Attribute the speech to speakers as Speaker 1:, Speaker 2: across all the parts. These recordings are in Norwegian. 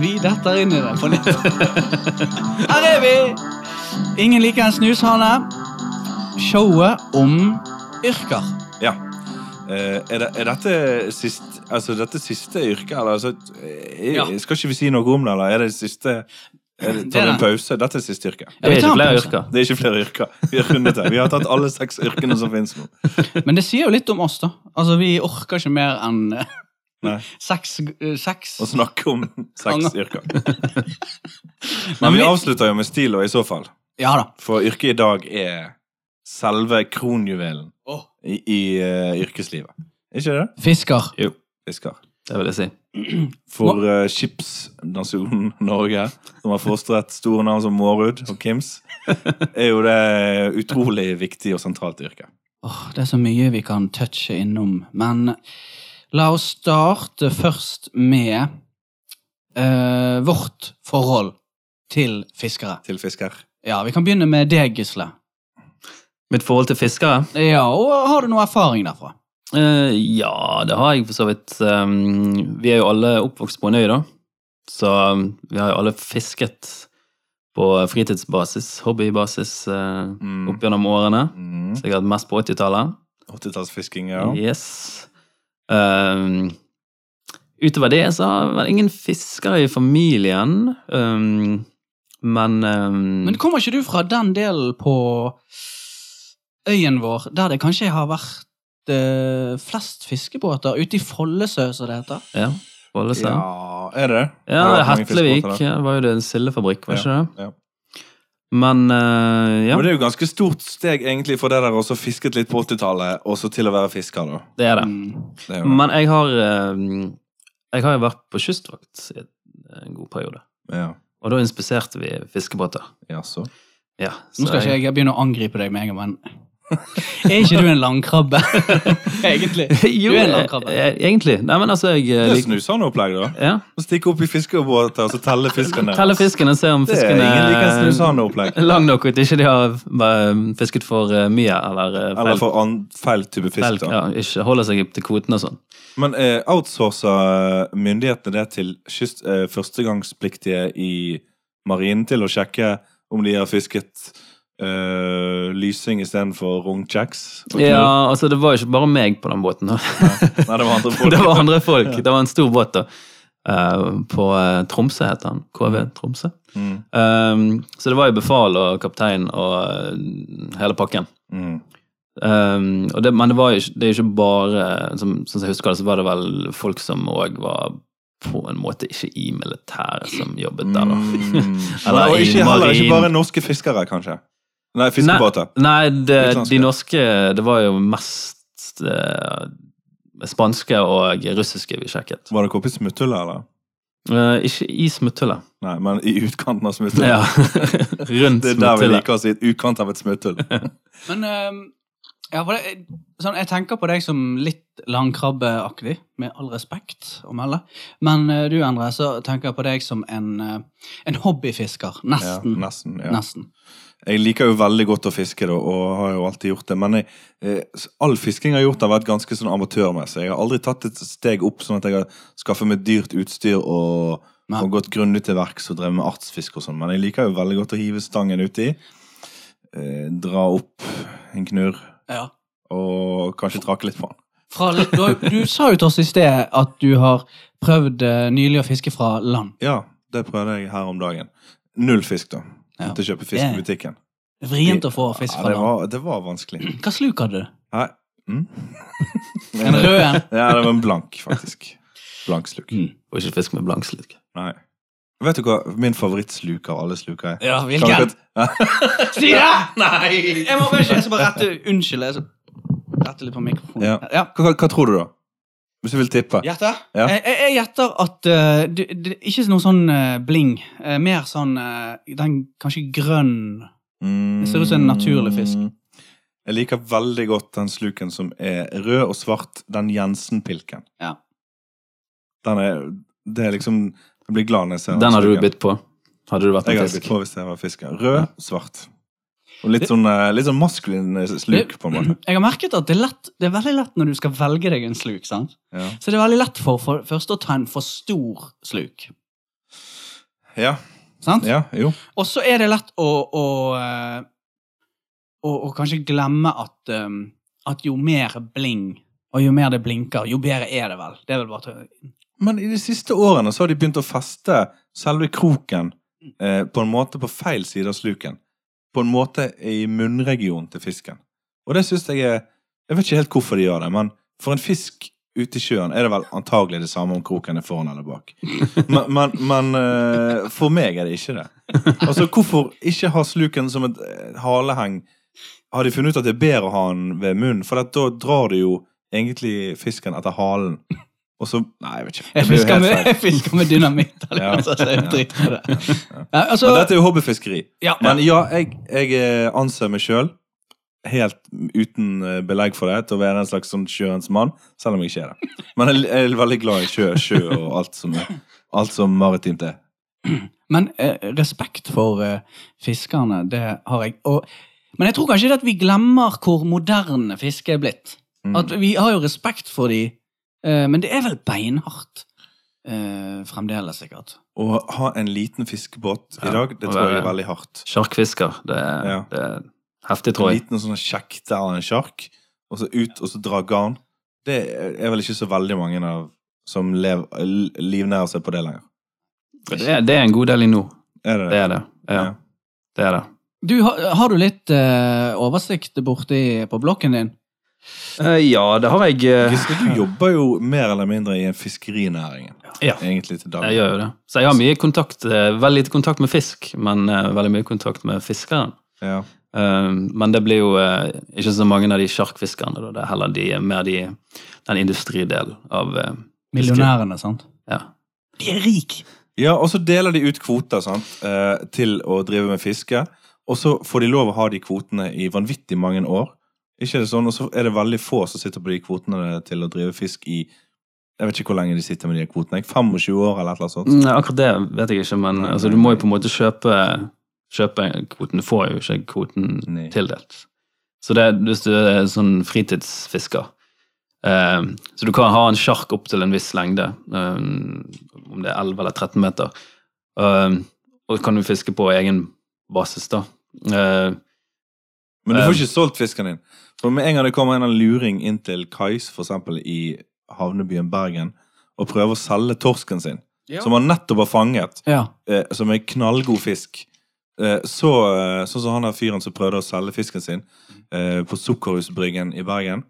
Speaker 1: vi detter inn i det på nytt. Her er vi! Ingen liker en snushane. Showet om yrker.
Speaker 2: Ja. Eh, Er, det, er dette, sist, altså dette siste yrket, eller altså, eh,
Speaker 3: Ja.
Speaker 2: Skal ikke vi si noe om det, eller er det siste er det,
Speaker 1: Det
Speaker 2: Tar vi
Speaker 1: er
Speaker 2: en pause? Dette er siste yrke.
Speaker 1: Ja,
Speaker 3: Det
Speaker 1: vi
Speaker 3: er
Speaker 1: tar
Speaker 3: ikke
Speaker 1: en
Speaker 3: flere
Speaker 1: pause.
Speaker 3: yrker.
Speaker 2: Det er ikke flere yrker. Vi har rundet det. Vi har tatt alle seks yrkene som finnes nå.
Speaker 1: Men det sier jo litt om oss, da. Altså, Vi orker ikke mer enn eh,
Speaker 2: Nei.
Speaker 1: seks, eh, seks.
Speaker 2: Å snakke om seks
Speaker 1: Anger.
Speaker 2: yrker. Men vi avslutter jo med stil, og i så fall.
Speaker 1: Ja da.
Speaker 2: For yrket i dag er selve kronjuvelen i, i eh, yrkeslivet. Er ikke det?
Speaker 1: Fisker.
Speaker 2: Fisker.
Speaker 3: Det vil jeg si.
Speaker 2: For eh, skipsnasjonen Norge, som har fostret store navn som Mårud og Kims, er jo det utrolig viktig og sentralt yrke.
Speaker 1: Åh, det er så mye vi kan touche innom, men la oss starte først med eh, vårt forhold til fiskere.
Speaker 2: Til fisker.
Speaker 1: Ja, vi kan begynne med deg, Gisle.
Speaker 3: Mitt forhold til fiskere?
Speaker 1: Ja, og har du noe erfaring derfra?
Speaker 3: Eh, ja, det har jeg for så vidt. Um, vi er jo alle oppvokst på en øy, da. Så um, vi har jo alle fisket på fritidsbasis, hobbybasis, eh,
Speaker 2: Mm.
Speaker 3: opp gjennom årene.
Speaker 2: Mm.
Speaker 3: Sikkert mest på 80-tallet.
Speaker 2: 80-tallsfisking, ja.
Speaker 3: Yes. Um, utover det så har vel ingen fiskere i familien. Um, men, um,
Speaker 1: Men kommer ikke du fra den delen på øyen vår der det kanskje har vært eh, flest fiskebåter? Ute i Follesø, som det heter.
Speaker 3: Ja, Ålesund.
Speaker 2: Ja,
Speaker 3: Ja,
Speaker 2: er det det? Har
Speaker 3: altså. ja
Speaker 2: det vært mange
Speaker 3: Hetlevik
Speaker 2: fiskebåter der?
Speaker 3: ja, var jo det en sildefabrikk, var ikke det?
Speaker 2: ja.
Speaker 3: Men eh, ja,
Speaker 2: Men det er jo ganske stort steg egentlig for det der også fisket litt på 80-tallet, og så til å være fisker, da.
Speaker 3: det er det.
Speaker 1: Mm.
Speaker 2: Det er jo,
Speaker 3: Men jeg har eh, Jeg har jo vært på kystvakt i en god periode.
Speaker 2: ja.
Speaker 3: Og da inspiserte vi fiskebåter.
Speaker 2: Jaså.
Speaker 3: Ja,
Speaker 1: Nå skal ikke jeg begynne å angripe deg med en gang, men Er ikke du en langkrabbe, egentlig?
Speaker 3: Jo,
Speaker 1: Du er en
Speaker 3: eh,
Speaker 1: landkrabbe.
Speaker 3: eh, egentlig. Nei, men altså, jeg
Speaker 2: Det
Speaker 3: eh,
Speaker 2: er
Speaker 3: liker
Speaker 2: snusende opplegg, da.
Speaker 3: ja.
Speaker 2: Å stikke opp i fiskebåter og så telle fisken ned.
Speaker 3: Telle fiskene, se om
Speaker 2: Det er
Speaker 3: fiskene
Speaker 2: ingen liker snusende opplegg.
Speaker 3: lang nok ut. Ikke de har eh, fisket for eh, mye eller eh, feil.
Speaker 2: Eller for an, feil type
Speaker 3: feil-
Speaker 2: fisk, da.
Speaker 3: ja, ikke holder seg til kvoten og sånn.
Speaker 2: Men eh, outsourcer eh, myndighetene det til kyst, eh, førstegangspliktige i marinen til å sjekke om de har fisket eh, lysing istedenfor rognkjeks? og knull?
Speaker 3: Ja, altså, det var jo ikke bare meg på den båten. da.
Speaker 2: Nei, det var andre folk.
Speaker 3: det var andre folk. Det var en stor båt, da. Eh, på eh, Tromsø heter han. KV Tromsø.
Speaker 2: Mm,
Speaker 3: Ehm, så det var jo befal og kaptein og eh, hele pakken.
Speaker 2: mm.
Speaker 3: Ehm, og det, men det, var jo ikke, det er jo ikke bare som, Sånn som jeg husker det, så var det vel folk som òg var på en måte ikke i militæret som jobbet der, da.
Speaker 2: Mm.
Speaker 3: Eller
Speaker 2: og
Speaker 3: i
Speaker 2: ikke, heller
Speaker 3: marin.
Speaker 2: ikke bare norske fiskere, kanskje. Nei, fiskebåter.
Speaker 3: Nei, det,
Speaker 2: Utenlandske.
Speaker 3: de norske Det var jo mest eh, spanske og russiske vi sjekket.
Speaker 2: Var dere oppe i smutthullet, eller?
Speaker 3: Eh, ikke i smutthullet.
Speaker 2: Nei, men i utkanten av smutthullet.
Speaker 3: Ja. Rundt
Speaker 2: Det er der vi
Speaker 3: smutthullet.
Speaker 2: liker å si utkant av et smutthull.
Speaker 1: Men ehm, ja, for det, sånn, Jeg tenker på deg som litt langkrabbeaktig, med all respekt å melde. Men eh, du, Endre, så tenker jeg på deg som en, eh, en hobbyfisker.
Speaker 2: Ja,
Speaker 1: Nesten.
Speaker 2: nesten. Ja.
Speaker 1: Nesten.
Speaker 2: Jeg liker jo veldig godt å fiske, da, og har jo alltid gjort det. Men jeg, eh, s- all fisking jeg har gjort, har vært ganske sånn amatørmessig. Jeg har aldri tatt et steg opp sånn at jeg har skaffet meg dyrt utstyr og,
Speaker 1: Nei.
Speaker 2: og gått grundig til verks og drevet med artsfiske og sånn. Men jeg liker jo veldig godt å hive stangen uti, eh, dra opp en knurr
Speaker 1: Ja.
Speaker 2: og kanskje trake litt på den.
Speaker 1: Fra, litt- du, du sa jo til oss i sted at du har prøvd eh, nylig å fiske fra land.
Speaker 2: Ja, det prøvde jeg her om dagen. Null fisk, da.
Speaker 1: Ja.
Speaker 2: Måtte kjøpe fisk i butikken.
Speaker 1: Vrient å få fisk
Speaker 2: Ja,
Speaker 1: fra
Speaker 2: det,
Speaker 1: land.
Speaker 2: var, det var vanskelig.
Speaker 1: Hva sluk hadde du?
Speaker 2: Nei. Mm.
Speaker 1: En rød en?
Speaker 2: Ja, det var en blank, faktisk. Blank sluk.
Speaker 1: Mm.
Speaker 3: Og ikke fisk med blanksluk.
Speaker 2: Nei. Vet du hva min favorittsluk av alle sluker er?
Speaker 1: Ja,
Speaker 2: Kan dere-
Speaker 1: hvilken? Si det! Nei! Jeg må bare ikke, jeg skal bare rette Unnskyld. Jeg skal rette litt på mikrofonen.
Speaker 2: Ja.
Speaker 1: Ja.
Speaker 2: Hva, hva, hva tror du, da? Hvis du vil tippe?
Speaker 1: Gjette?
Speaker 2: Ja.
Speaker 1: Jeg, jeg, jeg gjetter at eh, du, det, Ikke noe sånn eh, bling. Eh, mer sånn eh, den kanskje grønn
Speaker 2: Mm.
Speaker 1: Det ser ut som en naturlig fisk.
Speaker 2: Jeg liker veldig godt den sluken som er rød og svart, den Jensen-pilken.
Speaker 1: Ja.
Speaker 2: Den er Det er liksom Jeg blir glad når jeg ser
Speaker 3: Den hadde du
Speaker 2: sluken.
Speaker 3: bitt på. Hadde du vært
Speaker 2: Jeg
Speaker 3: en
Speaker 2: hadde bitt
Speaker 3: fisk.
Speaker 2: på hvis jeg var fisker. Rød, svart. Og litt sånn, eh, litt sånn maskulin eh, sluk, på en måte.
Speaker 1: Jeg har merket at det er, lett, det er veldig lett når du skal velge deg en sluk. sant?
Speaker 2: Ja.
Speaker 1: Så det er veldig lett for, for først å ta en for stor sluk.
Speaker 2: Ja.
Speaker 1: Sant?
Speaker 2: ja jo.
Speaker 1: Og så er det lett å, å, eh, å, å kanskje glemme at, eh, at jo mer bling, og jo mer det blinker, jo bedre er det vel. Det er vel bare til-
Speaker 2: Men i de siste årene så har de begynt å feste selve kroken eh, på en måte på feil side av sluken. På en måte i munnregionen til fisken. Og det syns jeg er Jeg vet ikke helt hvorfor de gjør det, men for en fisk ute i sjøen er det vel antagelig det samme om kroken er foran eller bak. Men, men, men eh, for meg er det ikke det. Altså, hvorfor ikke ha sluken som et eh, haleheng? Har de funnet ut at det er bedre å ha den ved munnen? For at da drar du jo egentlig fisken etter halen. Og så Nei, jeg vet ikke.
Speaker 1: Jeg
Speaker 2: Det blir jo
Speaker 1: fisker
Speaker 2: helt
Speaker 1: med,
Speaker 2: feil.
Speaker 1: jeg fisker med dynamitt. eller
Speaker 2: Ja.
Speaker 1: noe sånt, så jeg
Speaker 2: Ja.
Speaker 1: driter i det. Ja,
Speaker 2: Men
Speaker 1: altså,
Speaker 2: dette er jo hobbyfiskeri.
Speaker 1: ja,
Speaker 2: Men ja, jeg, jeg eh, anser meg sjøl, helt uten eh, belegg for det, til å være en slags sånn sjøens mann, selv om jeg ikke er det. Men jeg, jeg er veldig glad i sjø, sjø og alt som, alt som maritimt er.
Speaker 1: Men eh, respekt for eh, fiskerne, det har jeg. Og, men jeg tror kanskje det at vi glemmer hvor moderne fiske er blitt.
Speaker 2: Mm.
Speaker 1: At Vi har jo respekt for de, eh, men det er vel beinhardt eh, fremdeles, sikkert.
Speaker 2: Å ha en liten fiskebåt
Speaker 3: Ja,
Speaker 2: i dag, det
Speaker 3: å
Speaker 2: tror jeg er
Speaker 3: være-
Speaker 2: veldig hardt.
Speaker 3: Sjarkfisker. Det, er-
Speaker 2: Ja.
Speaker 3: det er heftig,
Speaker 2: En
Speaker 3: tror jeg.
Speaker 2: liten sånn kjekte av en sjark, og så ut, og så dra garn. Det er vel ikke så veldig mange av som lev, livnærer seg på det lenger.
Speaker 3: Det er, det er en god del i nå.
Speaker 2: Er det
Speaker 3: Det
Speaker 2: det?
Speaker 3: er det. Ja.
Speaker 2: Ja.
Speaker 3: Det er det.
Speaker 1: Du, har, har du litt eh, oversikt borti på blokken din?
Speaker 3: Eh, ja, det har jeg. eh,
Speaker 2: Gisle, du jobber jo mer eller mindre i en fiskerinæringen,
Speaker 3: Ja.
Speaker 2: egentlig til
Speaker 3: Jeg
Speaker 2: daglig.
Speaker 3: gjør jo det. Så jeg har mye kontakt, eh, veldig lite kontakt med fisk, men eh, veldig mye kontakt med fiskeren.
Speaker 2: Ja.
Speaker 3: Eh, men det blir jo eh, ikke så mange av de sjarkfiskerne, da. Det er heller de, mer de, den industridelen av eh, fiske.
Speaker 1: Millionærene, sant?
Speaker 3: Ja.
Speaker 1: De er rike!
Speaker 2: Ja, og så deler de ut kvoter sant? Eh, til å drive med fiske. Og så får de lov å ha de kvotene i vanvittig mange år. Ikke det sånn, Og så er det veldig få som sitter på de kvotene til å drive fisk i Jeg vet ikke hvor lenge de sitter med de kvotene. jeg. 25 år eller et eller annet sånt.
Speaker 3: Nei, Mm, akkurat det vet jeg ikke, men
Speaker 2: Nei,
Speaker 3: altså, du
Speaker 2: nei,
Speaker 3: må
Speaker 2: nei.
Speaker 3: jo på en måte kjøpe, kjøpe kvoten. Du får jo ikke kvoten
Speaker 2: Nei.
Speaker 3: tildelt. Så det, er- hvis du er sånn fritidsfisker eh, Så du kan ha en sjark opp til en viss lengde, eh, om det er 11 eller 13 meter. Eh, og kan du fiske på egen basis, da. Eh,
Speaker 2: Men du får ikke solgt fisken din. For med en gang det kommer en eller annen luring inn til kais, for eksempel i havnebyen Bergen, og prøver å selge torsken sin, som han nettopp har fanget,
Speaker 1: Ja.
Speaker 2: eh, som er knallgod fisk. Eh, så, eh, sånn som han der fyren som prøvde å selge fisken sin eh, på Sukkerhusbryggen i Bergen.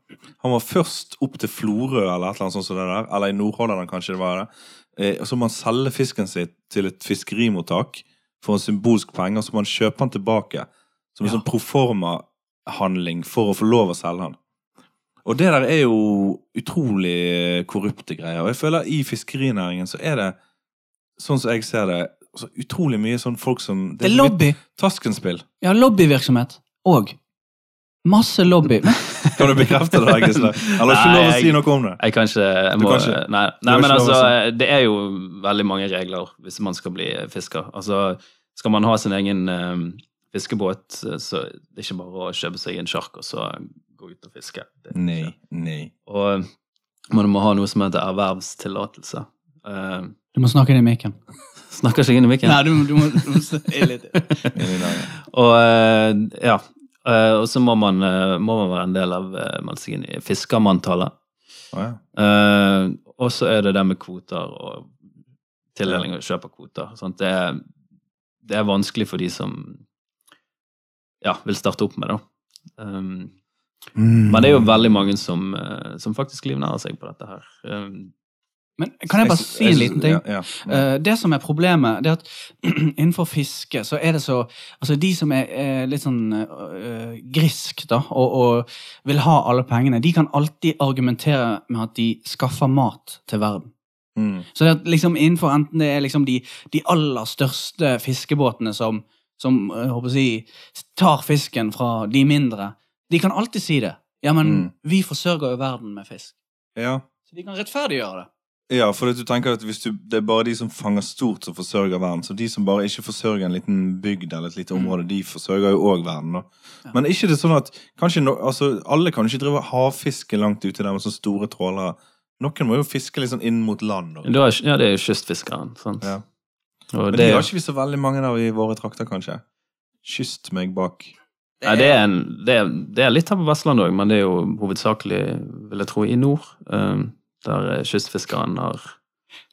Speaker 2: Han var først opp til Florø eller et eller annet sånt som det der, eller i Nordhordland kanskje det var det. Eh, og så må han selge fisken sin til et fiskerimottak for en symbolsk penge, og så må han kjøpe den tilbake som en
Speaker 1: Ja.
Speaker 2: sånn proforma-handling for å få lov å selge den. Og det der er jo utrolig korrupte greier. Og jeg føler i fiskerinæringen så er det, sånn som jeg ser det, så utrolig mye sånn folk som
Speaker 1: Det er
Speaker 2: så mye
Speaker 1: lobby.
Speaker 2: Taskenspill.
Speaker 1: Ja, lobbyvirksomhet. Og masse lobby. Men
Speaker 2: Kan du bekrefte det, Gisle? Eller har ikke
Speaker 3: Nei,
Speaker 2: lov å
Speaker 3: jeg-
Speaker 2: si noe om det?
Speaker 3: Jeg kan ikke jeg
Speaker 2: Du
Speaker 3: må,
Speaker 2: kan ikke-
Speaker 3: Nei,
Speaker 2: du
Speaker 3: nei
Speaker 2: har
Speaker 3: men
Speaker 2: ikke lov
Speaker 3: altså,
Speaker 2: å
Speaker 3: det er jo veldig mange regler hvis man skal bli fisker. Altså, skal man ha sin egen eh, fiskebåt, så det er ikke bare å kjøpe seg en sjark og så gå ut og fiske. Det er ikke-
Speaker 2: Nei, nei.
Speaker 3: Og man må ha noe som heter ervervstillatelse. Eh,
Speaker 1: du må snakke inn i mikken.
Speaker 3: snakker ikke inn i mikken.
Speaker 1: Nei, du, du må, du må se litt.
Speaker 2: Inni der,
Speaker 3: Og eh, ja, eh, og så må man, eh, må man være en del av eh, melde seg inn i fiskermanntallet.
Speaker 2: ja. Å, ja.
Speaker 3: Eh, og så er det det med kvoter og tildeling og kjøp av kvoter. Sant? Det, er, det er vanskelig for de som ja, vil starte opp med det. Um,
Speaker 1: Mm.
Speaker 3: men det
Speaker 2: Mm.
Speaker 3: er jo veldig mange som, eh, som faktisk livnærer seg på dette her. Um,
Speaker 1: Men kan jeg bare si en liten ting?
Speaker 2: Ja, ja.
Speaker 1: Eh, det som er problemet, det er at innenfor fiske så er det så Altså, de som er, er litt sånn eh, grisk, da, og, og vil ha alle pengene, de kan alltid argumentere med at de skaffer mat til verden.
Speaker 2: Mm.
Speaker 1: Så det at liksom innenfor enten det er liksom de, de aller største fiskebåtene som, som eh, håper jeg, å si, tar fisken fra de mindre, de kan alltid si det. Ja, men
Speaker 2: Mm.
Speaker 1: vi forsørger jo verden med fisk.
Speaker 2: ja.
Speaker 1: Så de kan rettferdiggjøre det.
Speaker 2: Ja, for at du tenker at hvis du, det er bare de som fanger stort som forsørger verden. Så de som bare ikke forsørger en liten bygd eller et lite område, de forsørger jo òg verden. Da.
Speaker 1: Mm. Ja.
Speaker 2: Men er ikke det sånn at kanskje no, altså, alle kan jo ikke drive havfiske langt ute der med sånne store trålere. Noen må jo fiske litt sånn inn mot land. Da.
Speaker 3: da er, ja, det er jo kystfiskeren. Sant?
Speaker 2: Ja. Men
Speaker 3: Og det,
Speaker 2: de har ikke vi så veldig mange av i våre trakter, kanskje. Kyst meg bak.
Speaker 3: Nei, det, er en, det, er, det er litt her på Vestlandet òg, men det er jo hovedsakelig, vil jeg tro, i nord. ehm, der eh, kystfiskeren har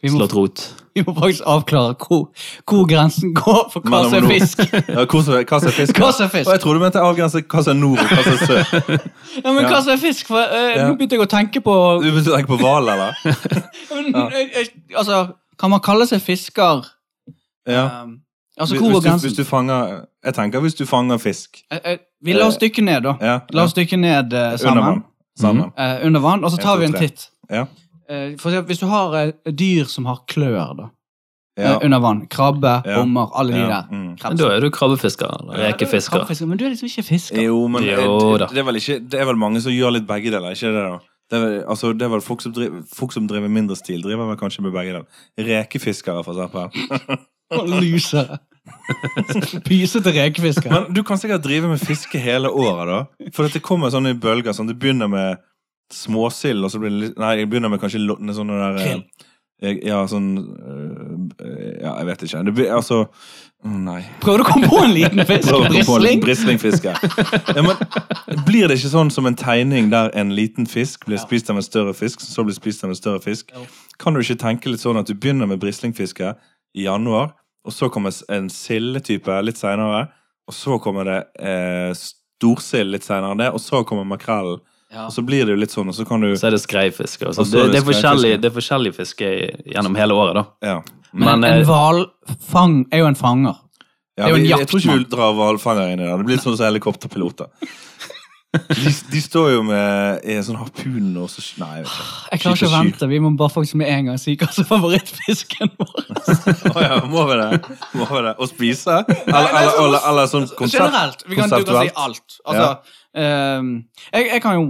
Speaker 1: Vi må,
Speaker 3: slått rot.
Speaker 1: vi må faktisk avklare hvor, hvor grensen går for hva
Speaker 2: Mellom
Speaker 1: som er
Speaker 2: nord.
Speaker 1: fisk.
Speaker 2: Ja, Hva som er hva som er fisk?
Speaker 1: Hva som er
Speaker 2: Og jeg
Speaker 1: fisk?
Speaker 2: trodde du mente avgrense hva som er nord og hva som er sør.
Speaker 1: Ja, men
Speaker 2: Ja.
Speaker 1: hva som er fisk? For, eh,
Speaker 2: Ja.
Speaker 1: Nå begynte jeg å tenke på
Speaker 2: Du begynte å tenke på hval, eller? Ja.
Speaker 1: Eh, eh, Altså, kan man kalle seg fisker?
Speaker 2: Ja.
Speaker 1: Um, altså, hvor
Speaker 2: Hvis- hvis,
Speaker 1: går
Speaker 2: du,
Speaker 1: grensen?
Speaker 2: hvis du fanger Jeg tenker hvis du fanger fisk
Speaker 1: Eh, eh, vi la oss dykke ned, da.
Speaker 2: ja,
Speaker 1: La oss dykke ned eh,
Speaker 2: ja, under
Speaker 1: sammen.
Speaker 2: vann. Sammen.
Speaker 1: Eh, under vann, og så
Speaker 2: En,
Speaker 1: tar
Speaker 2: to,
Speaker 1: vi en
Speaker 2: tre.
Speaker 1: titt.
Speaker 2: Ja.
Speaker 1: Eh, for eksempel, hvis du har eh, dyr som har klør da,
Speaker 2: Ja.
Speaker 1: eh, under vann, krabbe,
Speaker 2: Ja.
Speaker 1: hummer, alle de
Speaker 2: Ja.
Speaker 1: der.
Speaker 2: Mm.
Speaker 1: Krabbe.
Speaker 3: Men da er du krabbefisker
Speaker 2: Ja,
Speaker 3: eller
Speaker 1: Ja, da er du
Speaker 3: rekefisker.
Speaker 1: krabbefisker, Men du er liksom ikke fisker.
Speaker 2: Jo, men eh,
Speaker 3: Jo da.
Speaker 2: det, det, er vel ikke, det er vel mange som gjør litt begge deler, ikke det? da? Det er vel, altså, det er vel folk, som driver, folk som driver mindre stil, driver vel kanskje med begge deler. Rekefiskere, for eksempel.
Speaker 1: Loser. Pysete rekefisker.
Speaker 2: Men du kan sikkert drive med fiske hele året, da. For at det kommer sånne i bølger. Sånn, det begynner med småsild, og så blir det litt Nei, det begynner med kanskje lo- med sånne der eh,
Speaker 1: Krill.
Speaker 2: eh, Ja, sånn eh, eh, Ja, jeg vet ikke. Det blir altså mm, Nei.
Speaker 1: Prøvde å komme på en liten fisk.
Speaker 2: Prøv å komme på
Speaker 1: Brisling.
Speaker 2: en Brislingfiske. Ja, men, blir det ikke sånn som en tegning der en liten fisk blir
Speaker 1: Ja.
Speaker 2: spist av en større fisk, som så blir spist av en større fisk?
Speaker 1: Jo.
Speaker 2: Kan du ikke tenke litt sånn at du begynner med brislingfiske i januar, og så kommer en sildetype litt seinere, og så kommer det eh, storsild litt seinere enn det, og så kommer makrellen,
Speaker 1: Ja.
Speaker 2: og så blir det jo litt sånn, og så kan du
Speaker 3: Så er det skreifiske. og
Speaker 2: Og
Speaker 3: sånt.
Speaker 2: så er det
Speaker 3: Det, det, er forskjellig-
Speaker 2: skreifiske.
Speaker 3: det er forskjellig fiske i- gjennom hele året, da.
Speaker 2: Ja.
Speaker 1: Men
Speaker 3: Men,
Speaker 1: en
Speaker 3: eh,
Speaker 1: hvalfang er jo en fanger.
Speaker 2: Ja,
Speaker 1: Det er jo en
Speaker 2: vi- Jeg tror ikke
Speaker 1: jaktmann.
Speaker 2: vi drar hvalfanger inn i det. Det blir litt sånn som helikopterpiloter. De, de står jo med i en sånn harpun og så Nei, jeg vet ikke.
Speaker 1: Jeg klarer ikke å
Speaker 2: Skyter kyr.
Speaker 1: vente. Vi må bare faktisk med en gang si hva som er favorittfisken vår.
Speaker 2: Å ja, må vi det? Må vi det? Å spise? Eller, eller,
Speaker 1: nei,
Speaker 2: eller,
Speaker 1: sånn-
Speaker 2: eller, sånn konsept?
Speaker 1: Generelt. Vi kan, du kan si
Speaker 2: konseptuelt.
Speaker 1: alt. Altså, ehm, jeg, jeg kan jo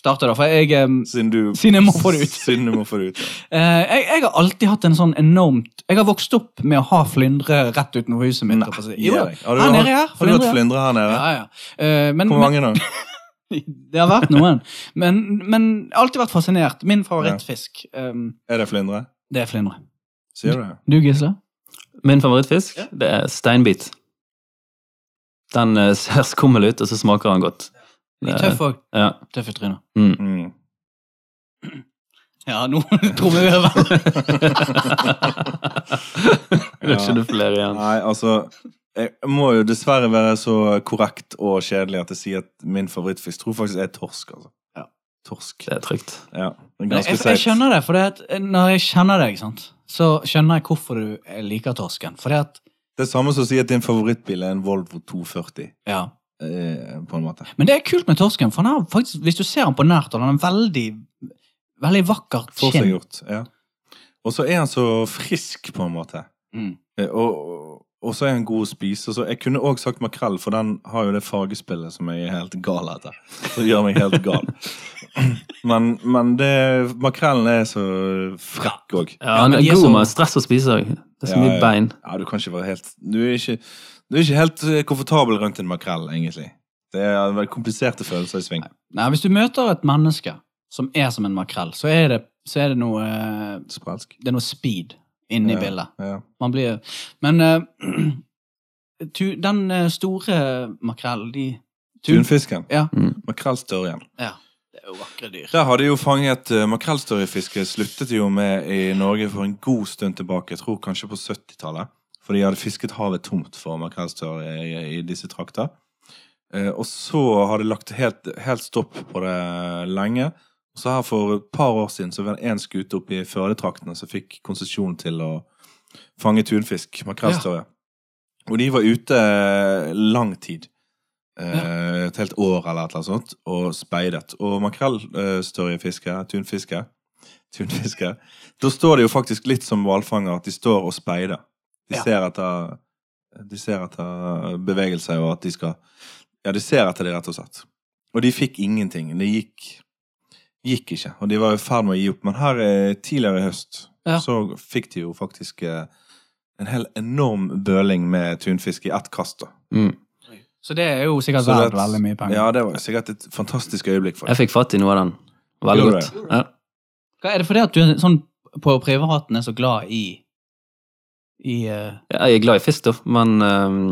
Speaker 1: starte, da, for jeg ehm,
Speaker 2: Siden du
Speaker 1: Siden jeg må få det ut.
Speaker 2: Siden du må få det ut. ja.
Speaker 1: eh, jeg, jeg har alltid hatt en sånn enormt Jeg har vokst opp med å ha flyndre rett utenfor huset mitt. holdt på å si. Jo,
Speaker 2: Gi deg. Har du,
Speaker 1: her
Speaker 2: har,
Speaker 1: nede her.
Speaker 2: har du hatt
Speaker 1: Flyndre.
Speaker 2: flyndre her nede?
Speaker 1: Ja, ja. Eh, men,
Speaker 2: Hvor
Speaker 1: men
Speaker 2: mange nå?
Speaker 1: det har vært noen. Men, men jeg har alltid vært fascinert. Min favorittfisk, ehm,
Speaker 2: Er det flyndre?
Speaker 1: det er flyndre.
Speaker 2: Sier du det?
Speaker 1: Du, Gisle?
Speaker 3: Min favorittfisk
Speaker 1: Ja.
Speaker 3: det er steinbit. Den eh, ser skummel ut, og så smaker den godt.
Speaker 1: De
Speaker 3: Det
Speaker 1: er
Speaker 3: er-
Speaker 1: tøffe òg.
Speaker 3: Ja.
Speaker 1: Tøffe tryner.
Speaker 3: Mm.
Speaker 2: Mm.
Speaker 1: Ja, nå trommer vi over.
Speaker 3: Vil ikke du flere igjen?
Speaker 2: Nei, altså Jeg må jo dessverre være så korrekt og kjedelig at jeg sier at min favorittfisk tror faktisk er torsk, altså.
Speaker 1: Ja.
Speaker 2: Torsk.
Speaker 3: Det er trygt.
Speaker 2: Ja. Det er
Speaker 1: Men
Speaker 2: ganske
Speaker 1: Jeg, jeg
Speaker 2: seigt.
Speaker 1: skjønner det, for det at eh, når jeg kjenner deg, sant, så skjønner jeg hvorfor du eh, liker torsken. For det at,
Speaker 2: Det er samme som å si at din favorittbil er en Volvo 240,
Speaker 1: ja.
Speaker 2: eh, på en måte.
Speaker 1: Men det er kult med torsken, for den har faktisk, hvis du ser den på nært, hold, den har en veldig, veldig vakker kinn.
Speaker 2: Forseggjort. Ja. Og så er han så frisk, på en måte.
Speaker 1: Mm.
Speaker 2: Eh, Og, og- og så er han god å spise. Og så, jeg kunne òg sagt makrell, for den har jo det fargespillet som jeg er helt gal etter. Som gjør meg helt gal. Men, men det, makrellen er så frekk òg.
Speaker 3: Ja,
Speaker 1: Ja,
Speaker 3: han
Speaker 1: men
Speaker 3: er
Speaker 1: de er
Speaker 3: god
Speaker 1: så-
Speaker 3: med stress å spise òg. Det er så
Speaker 2: Ja, ja.
Speaker 3: mye bein.
Speaker 2: Ja, du kan ikke være helt Du er ikke, du er ikke helt eh, komfortabel rundt en makrell, egentlig. Det er vel kompliserte følelser i sving.
Speaker 1: Nei, hvis du møter et menneske som er som en makrell, så er det, så er det, noe, eh,
Speaker 2: Sprelsk.
Speaker 1: det er noe speed inne i bildet.
Speaker 2: Ja.
Speaker 1: Man blir, men eh, tu, den eh, store makrellen, de... tun-
Speaker 2: Tunfisken.
Speaker 1: Ja.
Speaker 3: Mm.
Speaker 2: Makrellstørjen.
Speaker 1: Ja, det er jo vakre dyr.
Speaker 2: Der hadde jo fanget eh, makrellstørjefiske sluttet jo med i Norge for en god stund tilbake. Jeg tror kanskje på 70-tallet. For de hadde fisket havet tomt for makrellstørje i, i disse trakter. Eh, og så har det lagt helt, helt stopp på det lenge. Og så her for et par år siden så var det én skute oppe i Førdetraktene som fikk konsesjon til å fange tunfisk, makrellstørje. Og de var ute lang tid. Eh, et helt år eller et eller annet sånt, og speidet. Og makrellstørjefiske, tunfiske Tunfiske. Da står det jo faktisk litt som hvalfanger, at de står og speider. De,
Speaker 1: Ja.
Speaker 2: ser etter, de ser etter bevegelser, og at de skal Ja, de ser etter det, rett og slett. Og de fikk ingenting. Det gikk, gikk ikke. Og de var i ferd med å gi opp. Men her eh, tidligere i høst
Speaker 1: Ja.
Speaker 2: så fikk de jo faktisk eh, en hel enorm bøling med tunfisk i ett kast, da.
Speaker 3: Mm.
Speaker 1: Så det er jo sikkert
Speaker 2: Så
Speaker 1: verdt
Speaker 2: det-
Speaker 1: veldig mye penger.
Speaker 2: Ja, det var sikkert et fantastisk øyeblikk. for dem.
Speaker 3: Jeg fikk fatt i noe av den. Veldig
Speaker 2: Gjorde
Speaker 3: godt. Ja.
Speaker 1: Hva er det fordi at du er sånn på privaten er så glad i i eh,
Speaker 3: Jeg er glad i fisk, da, men ehm,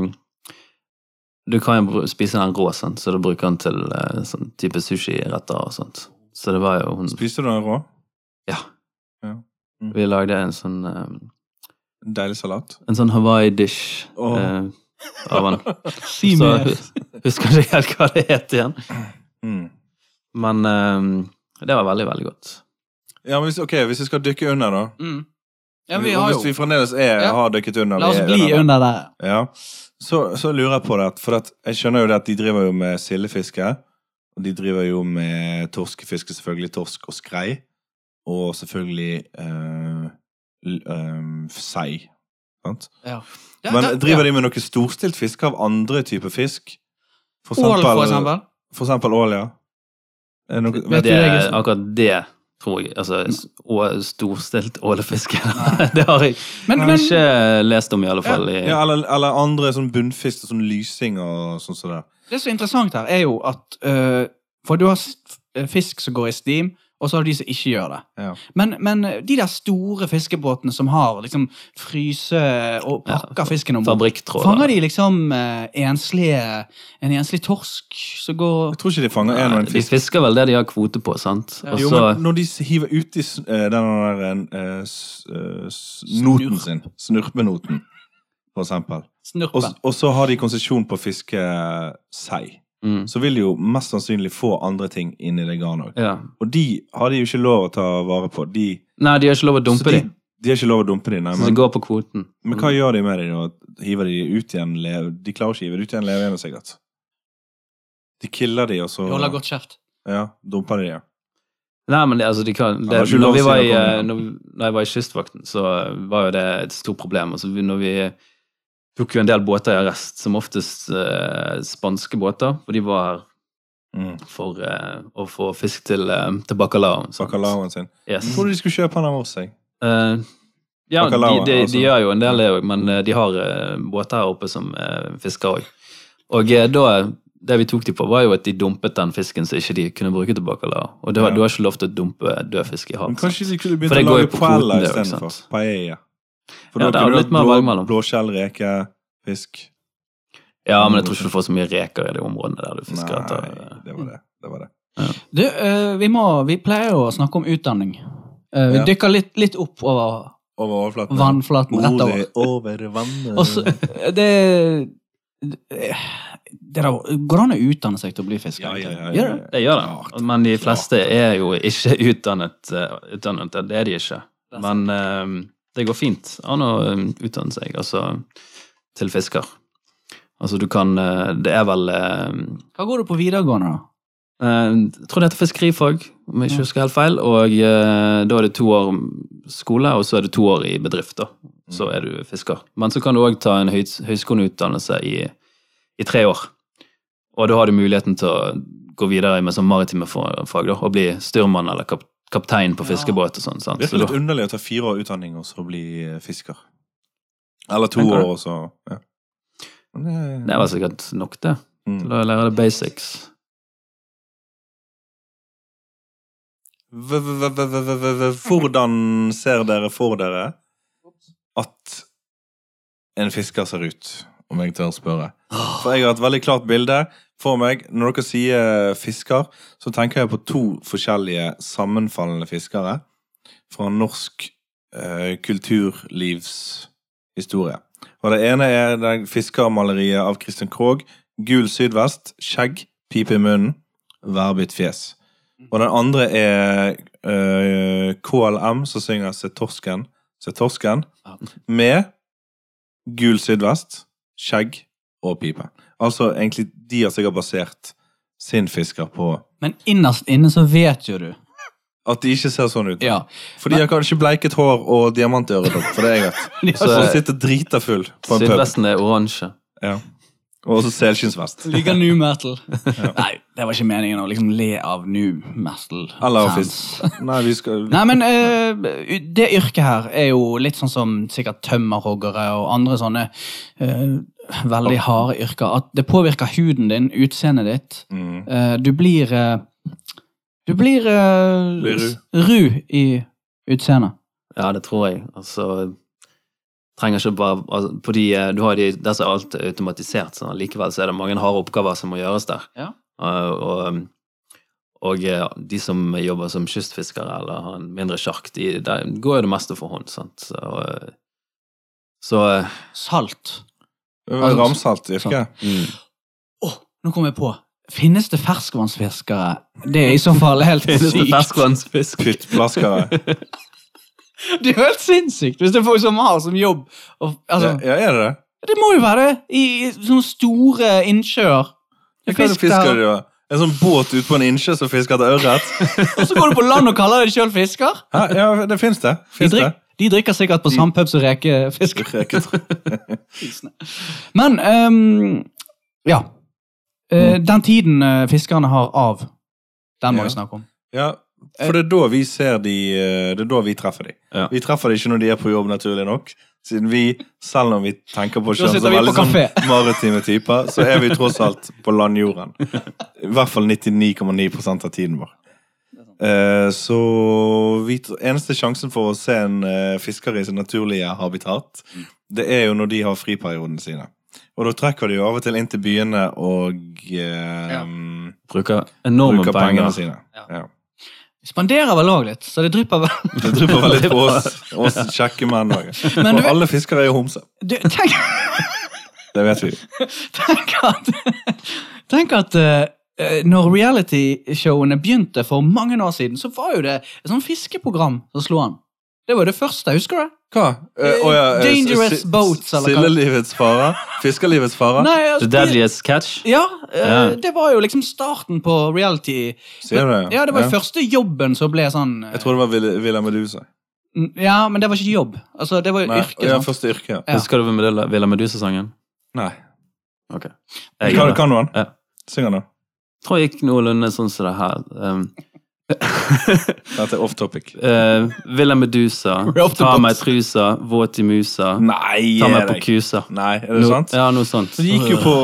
Speaker 3: du kan jo br- spise den rå, sant? så du bruker den til eh, sånn type sushiretter og sånt. Så det var jo hun
Speaker 2: Spiste du den rå?
Speaker 3: Ja.
Speaker 2: Ja. Mm.
Speaker 3: Vi lagde en sånn, ehm,
Speaker 2: Deilig salat.
Speaker 3: en sånn Hawaii-dish
Speaker 2: Åh.
Speaker 3: eh, av den. Så
Speaker 1: Simi.
Speaker 3: hus- husker ikke helt hva det het igjen.
Speaker 2: Mm.
Speaker 3: Men ehm, det var veldig, veldig godt.
Speaker 2: Ja, men hvis, ok, hvis vi skal dykke under, da
Speaker 1: Mm. Ja, vi
Speaker 2: Og
Speaker 1: har
Speaker 2: Hvis vi
Speaker 1: jo
Speaker 2: fremdeles er,
Speaker 1: Ja.
Speaker 2: har dykket under,
Speaker 1: La
Speaker 2: vi
Speaker 1: oss
Speaker 2: er
Speaker 1: bli
Speaker 2: da.
Speaker 1: under der.
Speaker 2: Ja. Så, så lurer jeg på det, at- for at jeg skjønner jo det at de driver jo med sildefiske. Og de driver jo med torskefiske, selvfølgelig torsk og skrei. Og selvfølgelig eh, l- eh, sei. Sant?
Speaker 1: Ja.
Speaker 2: Men driver de med noe storstilt fiske av andre typer fisk? For
Speaker 1: Ål, for
Speaker 2: eksempel,
Speaker 1: eksempel.
Speaker 2: for eksempel ål, ja. Er det noe,
Speaker 1: Vet
Speaker 3: Det,
Speaker 1: du det, Gustav?
Speaker 3: akkurat det tror jeg. Altså, s- å- storstilt ålefiske. det har jeg
Speaker 1: Men, men
Speaker 3: ikke lest om, i alle fall. eh, i-
Speaker 2: ja, eller, eller andre sånn bunnfisk, sånn lysing og sånn som det.
Speaker 1: det som er interessant her, er jo at eh, For du har s- eh, fisk som går i steam, og så har du de som ikke gjør det.
Speaker 2: Ja.
Speaker 1: Men, men de der store fiskebåtene som har liksom fryse og pakker
Speaker 3: Ja,
Speaker 1: fisken om bord,
Speaker 3: Fabrikktråd.
Speaker 1: fanger de liksom eh, enslige En enslig torsk som går
Speaker 2: Jeg tror ikke de fanger én og
Speaker 3: Nei,
Speaker 2: en
Speaker 3: de
Speaker 2: fisk.
Speaker 3: fisker vel det de har kvote på, sant? Og
Speaker 2: Jo,
Speaker 3: så
Speaker 2: men når de s- hiver uti s- eh, den der eh, s- eh, s- noten
Speaker 1: Snurp.
Speaker 2: sin, snurpenoten, for eksempel, og, s-
Speaker 1: snurpen.
Speaker 2: og så har de konsesjon på å fiske sei,
Speaker 3: mm,
Speaker 2: så vil de jo mest sannsynlig få andre ting inn i det garnet òg.
Speaker 3: ja.
Speaker 2: Og de har de jo ikke lov å ta vare på. De,
Speaker 3: Nei, de har ikke lov å
Speaker 2: så
Speaker 3: dumpe
Speaker 2: de,
Speaker 3: dem.
Speaker 2: de har ikke lov å dumpe de, nei.
Speaker 3: Så det
Speaker 2: Men,
Speaker 3: går på kvoten. Mm.
Speaker 2: men hva gjør de med dem da? Hiver de ut igjen? Le, de klarer ikke å hive det ut igjen levende, sikkert. De killer de, og så
Speaker 1: De holder godt kjeft.
Speaker 2: ja, dumper de de. Ja.
Speaker 3: Nei, men det, altså, de
Speaker 2: Ja,
Speaker 3: kan,
Speaker 2: det er
Speaker 3: det,
Speaker 2: ikke
Speaker 3: når,
Speaker 2: lov å
Speaker 3: vi
Speaker 2: si
Speaker 3: var
Speaker 2: det
Speaker 3: i,
Speaker 2: på
Speaker 3: eh,
Speaker 2: den, ja.
Speaker 3: når, når jeg var i kystvakten, så var jo det et stort problem. Altså, vi- når vi tok jo en del båter i arrest, som oftest eh, spanske båter, for de var her
Speaker 2: Mm.
Speaker 3: for eh, å få fisk til, eh, til bacalaoen. sant?
Speaker 2: Bacalaoen sin. Jeg
Speaker 3: Yes.
Speaker 2: trodde de skulle kjøpe den av oss, jeg.
Speaker 3: Eh, ja,
Speaker 2: Bacalao,
Speaker 3: de, de,
Speaker 2: altså.
Speaker 3: de gjør jo en del det òg, men eh, de har eh, båter her oppe som eh, fisker òg. Og eh, da det vi tok de på, var jo at de dumpet den fisken som ikke de kunne bruke til bacalao. Og da,
Speaker 2: Ja.
Speaker 3: du har ikke lov til å dumpe død fisk i
Speaker 2: Men
Speaker 3: havet.
Speaker 2: kanskje
Speaker 3: sant?
Speaker 2: de kunne begynt
Speaker 3: For det
Speaker 2: å
Speaker 3: går jo
Speaker 2: lage
Speaker 3: på
Speaker 2: paella
Speaker 3: kvoten, det også,
Speaker 2: istedenfor.
Speaker 3: sant?
Speaker 2: Paella. For da
Speaker 3: Ja, det er
Speaker 2: kunne
Speaker 3: jo
Speaker 2: du
Speaker 3: litt mer
Speaker 2: blå-
Speaker 3: valg mellom.
Speaker 2: Blåskjell, reke, fisk
Speaker 3: Ja, men jeg tror ikke du får så mye reker i det området der du
Speaker 2: Nei,
Speaker 3: fisker etter. eh,
Speaker 2: det var det. det, var det.
Speaker 1: Du, eh, vi, må, vi pleier jo å snakke om utdanning. Eh, vi
Speaker 2: Ja.
Speaker 1: dykker litt, litt opp over
Speaker 2: Over overflaten.
Speaker 1: vannflaten rett over.
Speaker 2: Ordet over vannet.
Speaker 1: Og så,
Speaker 2: Mm.
Speaker 1: det det der, Går det an å utdanne seg til å bli fisker?
Speaker 2: ja, ja, ja,
Speaker 1: egentlig?
Speaker 2: ja,
Speaker 1: Gjør det?
Speaker 2: ja.
Speaker 3: Det gjør det,
Speaker 2: Klart.
Speaker 3: men de fleste er jo ikke utdannet. eh, utdannet det er de ikke.
Speaker 1: Det er sant.
Speaker 3: Men eh, det går fint an å eh, utdanne seg altså, til fisker. Altså, du kan eh, Det er vel eh,
Speaker 1: Hva går du på videregående, da?
Speaker 3: eh, Jeg tror det heter fiskerifag, om jeg
Speaker 1: Ja.
Speaker 3: ikke husker helt feil. Og eh, da er det to år skole, og så er det to år i bedrift. da. Så er du fisker. Men så kan du òg ta en høys høyskoleutdannelse i, i tre år. Og da har du muligheten til å gå videre med sånn maritime fa- fag da, og bli styrmann eller kap kaptein på
Speaker 1: Ja.
Speaker 3: fiskebåt og sånn. sant?
Speaker 2: Det
Speaker 3: Så
Speaker 2: virker litt
Speaker 3: da,
Speaker 2: underlig å ta fire år utdanning og så bli eh, fisker. Eller to
Speaker 3: Tenker
Speaker 2: år,
Speaker 3: du?
Speaker 2: og så ja. Men
Speaker 3: det var sikkert nok, det.
Speaker 2: mm.
Speaker 3: Til å lære det basics.
Speaker 2: V- v- v- v- v- v- Hvordan ser dere for dere at en fisker ser ut, om jeg tør å spørre? For jeg har et veldig klart bilde for meg. Når dere sier fisker, så tenker jeg på to forskjellige sammenfallende fiskere fra norsk eh, kulturlivshistorie. Og det ene er det fiskermaleriet av Christian Krogh. Gul sydvest, skjegg, pipe i munnen, værbitt fjes. Og den andre er eh, KLM, som synger Se torsken, se torsken,
Speaker 1: Ja.
Speaker 2: med gul sydvest, skjegg og pipe. Altså egentlig de har sikkert basert sin fisker på
Speaker 1: Men innerst inne så vet jo du.
Speaker 2: at de ikke ser sånn ut.
Speaker 1: Ja.
Speaker 2: For de har kanskje bleiket hår og diamantøredopp, for det er jeg vet.
Speaker 1: De
Speaker 2: Så
Speaker 1: har
Speaker 2: de sitter drita full på en pub.
Speaker 3: Sydvesten er oransje.
Speaker 2: Og også selskinnsvest.
Speaker 1: Liker new metal. Nei, det var ikke meningen å liksom le av new metal.
Speaker 2: Eller
Speaker 1: fans.
Speaker 2: fisk. Nei, vi skal
Speaker 1: Nei, men eh, det yrket her er jo litt sånn som sikkert tømmerhoggere og andre sånne eh, veldig harde yrker. At det påvirker huden din, utseendet ditt.
Speaker 2: mm.
Speaker 1: Eh, du blir eh, Du blir, eh,
Speaker 2: Blir ru.
Speaker 1: s- ru i utseendet.
Speaker 3: Ja, det tror jeg. Altså trenger ikke bare altså, på de, eh, du har de, Der så er alt automatisert, så likevel så er det mange harde oppgaver som må gjøres der.
Speaker 1: Ja.
Speaker 3: Eh, og, og eh, de som jobber som kystfiskere eller har en mindre sjark, de, der går jo det meste for hånd. Sant? Så, eh, så eh,
Speaker 1: Salt.
Speaker 2: Det
Speaker 1: Altså-
Speaker 2: var Ramsalt
Speaker 1: Sånn.
Speaker 2: virker.
Speaker 3: mm.
Speaker 1: Å, nå kom jeg på. Finnes det ferskvannsfiskere? Det er i så fall helt
Speaker 3: Finnes det
Speaker 1: sykt.
Speaker 3: ferskvannsfisk?
Speaker 2: Pyttflaskere.
Speaker 1: Det er jo helt sinnssykt hvis det er folk som har som jobb. Og, altså,
Speaker 2: Ja, ja, er det det?
Speaker 1: Det må jo være det. I sånne store innsjøer. Det
Speaker 2: Hva
Speaker 1: er
Speaker 2: er det
Speaker 1: fisk
Speaker 2: fisker
Speaker 1: der,
Speaker 2: du, da? En sånn båt ute på en innsjø som fisker etter ørret?
Speaker 1: og så går du på land og kaller deg sjøl fisker?
Speaker 2: Hæ? Ja, det fins det.
Speaker 1: De,
Speaker 2: Finnes det?
Speaker 1: drik- de drikker sikkert på sandpub som rekefisker.
Speaker 2: Reker-
Speaker 1: Men ehm, ja. Eh, den tiden eh, fiskerne har av, den må
Speaker 2: Mm. Ja.
Speaker 1: vi snakke om.
Speaker 2: Ja, for det er da vi ser de eh, Det er da vi treffer de.
Speaker 3: Ja.
Speaker 2: Vi treffer de ikke når de er på jobb, naturlig nok. Siden vi, selv om vi tenker på
Speaker 1: Da
Speaker 2: sjøen
Speaker 1: sitter
Speaker 2: som
Speaker 1: vi
Speaker 2: veldig
Speaker 1: på
Speaker 2: sånn
Speaker 1: kafé.
Speaker 2: maritime typer, så er vi tross alt på landjorden. I hvert fall 99,9 av tiden vår. Eh, Så vi, tr- eneste sjansen for å se en eh, fisker i sin naturlige habitat, det er jo når de har friperiodene sine. Og da trekker de jo av og til inn til byene og eh,
Speaker 1: Ja.
Speaker 3: Bruker enorme
Speaker 2: bruker pengene
Speaker 3: penger.
Speaker 2: sine.
Speaker 1: Ja.
Speaker 2: Ja.
Speaker 1: Vi spanderer vel òg litt, så det drypper vel.
Speaker 2: Det drypper vel litt på oss, oss kjekke menn òg.
Speaker 1: Men
Speaker 2: Og
Speaker 1: du-
Speaker 2: alle fiskere er jo homser.
Speaker 1: Du, tenk,
Speaker 2: Det vet vi.
Speaker 1: tenk at, tenk at eh, når realityshowene begynte for mange år siden, så var jo det et sånt fiskeprogram som slo an. Det var jo det første, husker du? det?
Speaker 2: Hva?
Speaker 1: Eh, dangerous boats, eller hva?
Speaker 2: Sildelivets farer? Fiskerlivets farer?
Speaker 1: Nei, altså,
Speaker 3: The Deadliest Catch.
Speaker 1: Ja, eh,
Speaker 3: Ja.
Speaker 1: det var jo liksom starten på reality.
Speaker 2: Sier du det?
Speaker 1: Ja, det var jo første jobben som ble sånn eh,
Speaker 2: Jeg tror det var Villa- Villa Medusa.
Speaker 1: n- Ja, men det var ikke jobb. Altså, det var jo
Speaker 2: Nei,
Speaker 1: yrke.
Speaker 2: ja,
Speaker 1: sant?
Speaker 2: første yrke, ja.
Speaker 1: Ja.
Speaker 3: Husker du Villa- Villa Medusa-sangen?
Speaker 2: Nei.
Speaker 3: Ok. Jeg
Speaker 2: Kan,
Speaker 3: gjør det.
Speaker 2: kan du den?
Speaker 3: Ja.
Speaker 2: Syng den, da.
Speaker 3: tror jeg gikk noenlunde sånn som det her. Um,
Speaker 2: Dette er off topic.
Speaker 3: eh, Villa Medusa,
Speaker 1: We're off the
Speaker 3: ta
Speaker 1: box.
Speaker 3: meg i trusa, våt i musa,
Speaker 2: Mm, Nei,
Speaker 3: ta
Speaker 2: gi
Speaker 3: meg på
Speaker 2: deg.
Speaker 3: kusa.
Speaker 2: Nei, er det
Speaker 3: No-
Speaker 2: sant?
Speaker 3: Ja, noe sånt.
Speaker 2: Så det gikk jo på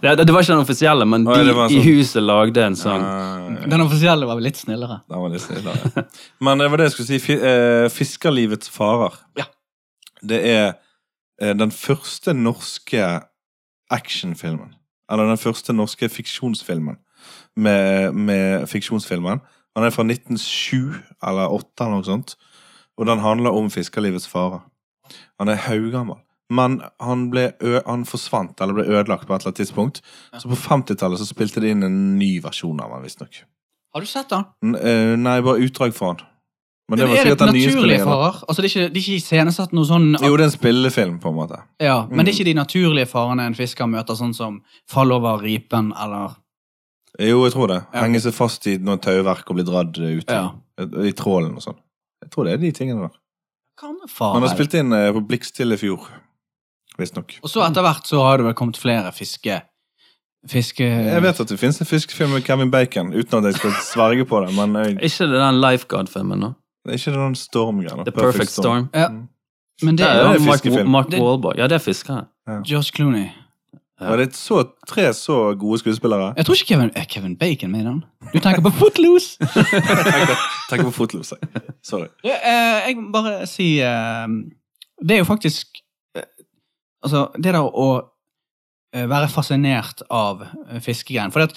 Speaker 3: det, det, det var ikke den offisielle, men
Speaker 2: Å, ja,
Speaker 3: de
Speaker 2: det var en
Speaker 3: i
Speaker 2: sånn.
Speaker 3: huset lagde en sånn.
Speaker 2: Ah,
Speaker 1: Den offisielle var vel litt snillere.
Speaker 2: Den var litt snillere. Men det var det jeg skulle si. Fi- eh, Fiskerlivets farer.
Speaker 1: Ja.
Speaker 2: Det er eh, den første norske actionfilmen. Eller den første norske fiksjonsfilmen. Med, med fiksjonsfilmen. Han er fra 1907 eller 8 eller noe sånt. Og den handler om fiskerlivets farer. Han er haugammel. Men han, ble ø han forsvant, eller ble ødelagt på et eller annet tidspunkt. Så på 50-tallet så spilte de inn en ny versjon av han, visstnok.
Speaker 1: Har du sett den?
Speaker 2: N- eh, Nei, bare utdrag fra han. Men det var
Speaker 1: er
Speaker 2: sikkert
Speaker 1: det
Speaker 2: den nye
Speaker 1: naturlige
Speaker 2: spillingen.
Speaker 1: farer? Altså, det er ikke, det er ikke iscenesatt noe sånn
Speaker 2: Jo, det er en spillefilm, på en måte.
Speaker 1: ja, Men det er
Speaker 2: Mm.
Speaker 1: ikke de naturlige farene en fisker møter, sånn som fall over ripen eller
Speaker 2: Jo, jeg tror det.
Speaker 1: Ja.
Speaker 2: Henge seg fast i noe tauverk og bli dradd ut
Speaker 1: ja.
Speaker 2: i trålen og sånn. Jeg tror det er de tingene der.
Speaker 1: Hva med
Speaker 2: Han har
Speaker 1: farer?
Speaker 2: spilt inn eh, på Blikkstille i fjor, visstnok.
Speaker 1: Og så etter hvert så har det vel kommet flere fiske... Fiske...
Speaker 2: Jeg vet at det fins en fiskefilm med Kevin Bacon, uten at jeg skal sverge på det, men jeg,
Speaker 3: Er Ikke det den Lifeguard-filmen, nå?
Speaker 2: det er ikke den stormgreia.
Speaker 3: The Perfect Storm.
Speaker 1: Ja.
Speaker 2: Mm.
Speaker 1: Men det
Speaker 3: Det
Speaker 1: er
Speaker 3: er
Speaker 1: jo
Speaker 2: det
Speaker 3: jo Mark,
Speaker 2: fiskefilm.
Speaker 3: Mark
Speaker 1: Det-
Speaker 3: Wahlberg. Ja, det er fiskere.
Speaker 1: Josh Clooney.
Speaker 2: Var det så, tre så gode skuespillere?
Speaker 1: Jeg tror ikke Kevin, er Kevin Bacon med i den. Du tenker på Footloose!
Speaker 2: Tenk på fotlose. Sorry.
Speaker 1: Du, eh, jeg må bare si eh, Det er jo faktisk eh, Altså, det der å eh, være fascinert av eh, fiskegreien For at,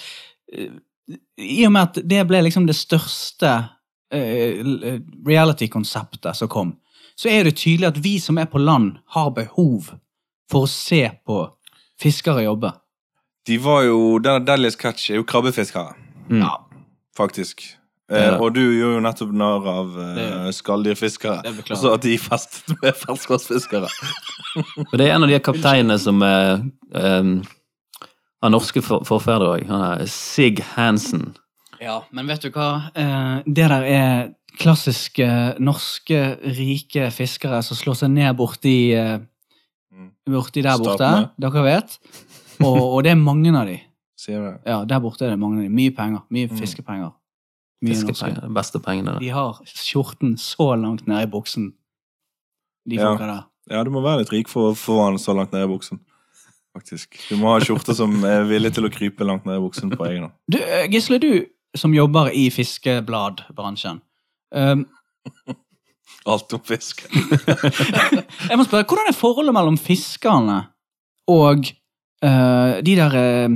Speaker 1: eh, i og med at det ble liksom det største eh, l- reality-konseptet som kom, så er det tydelig at vi som er på land, har behov for å se på fiskere jobbe.
Speaker 2: De var jo Den Deadliest Catch er jo krabbefiskere,
Speaker 3: Mm.
Speaker 1: Ja.
Speaker 2: faktisk.
Speaker 3: Ja.
Speaker 2: Eh, og du gjorde jo nettopp narr av eh,
Speaker 1: Det-
Speaker 2: skalldyrfiskere.
Speaker 1: Det
Speaker 2: Og så at de festet med ferskvannsfiskere.
Speaker 3: Og det er en av de kapteinene som er um, har norske for forfedre òg. Han er Sig Hansen.
Speaker 1: Ja, men vet du hva? Eh, det der er klassiske norske rike fiskere som slår seg ned borti eh,
Speaker 2: Mm.
Speaker 1: Borti der borte.
Speaker 2: Statene.
Speaker 1: Dere vet. Og, og det er mange av de.
Speaker 2: Sier du det?
Speaker 1: Ja, der borte er det mange av de. Mye penger. Mye
Speaker 2: Mm.
Speaker 1: fiskepenger. Mye norske.
Speaker 3: Fiskepenger. de Beste pengene.
Speaker 1: De har skjorten så langt ned i buksen, de
Speaker 2: Ja.
Speaker 1: folka der.
Speaker 2: Ja, du må være litt rik for å få han så langt ned i buksen. Faktisk. Du må ha skjorte som er villig til å krype langt ned i buksen på egen hånd.
Speaker 1: Du, eh, eh, Gisle, du som jobber i fiskebladbransjen. Um,
Speaker 2: Alt om fisk.
Speaker 1: Jeg må spørre, Hvordan er forholdet mellom fiskerne og eh, de der eh,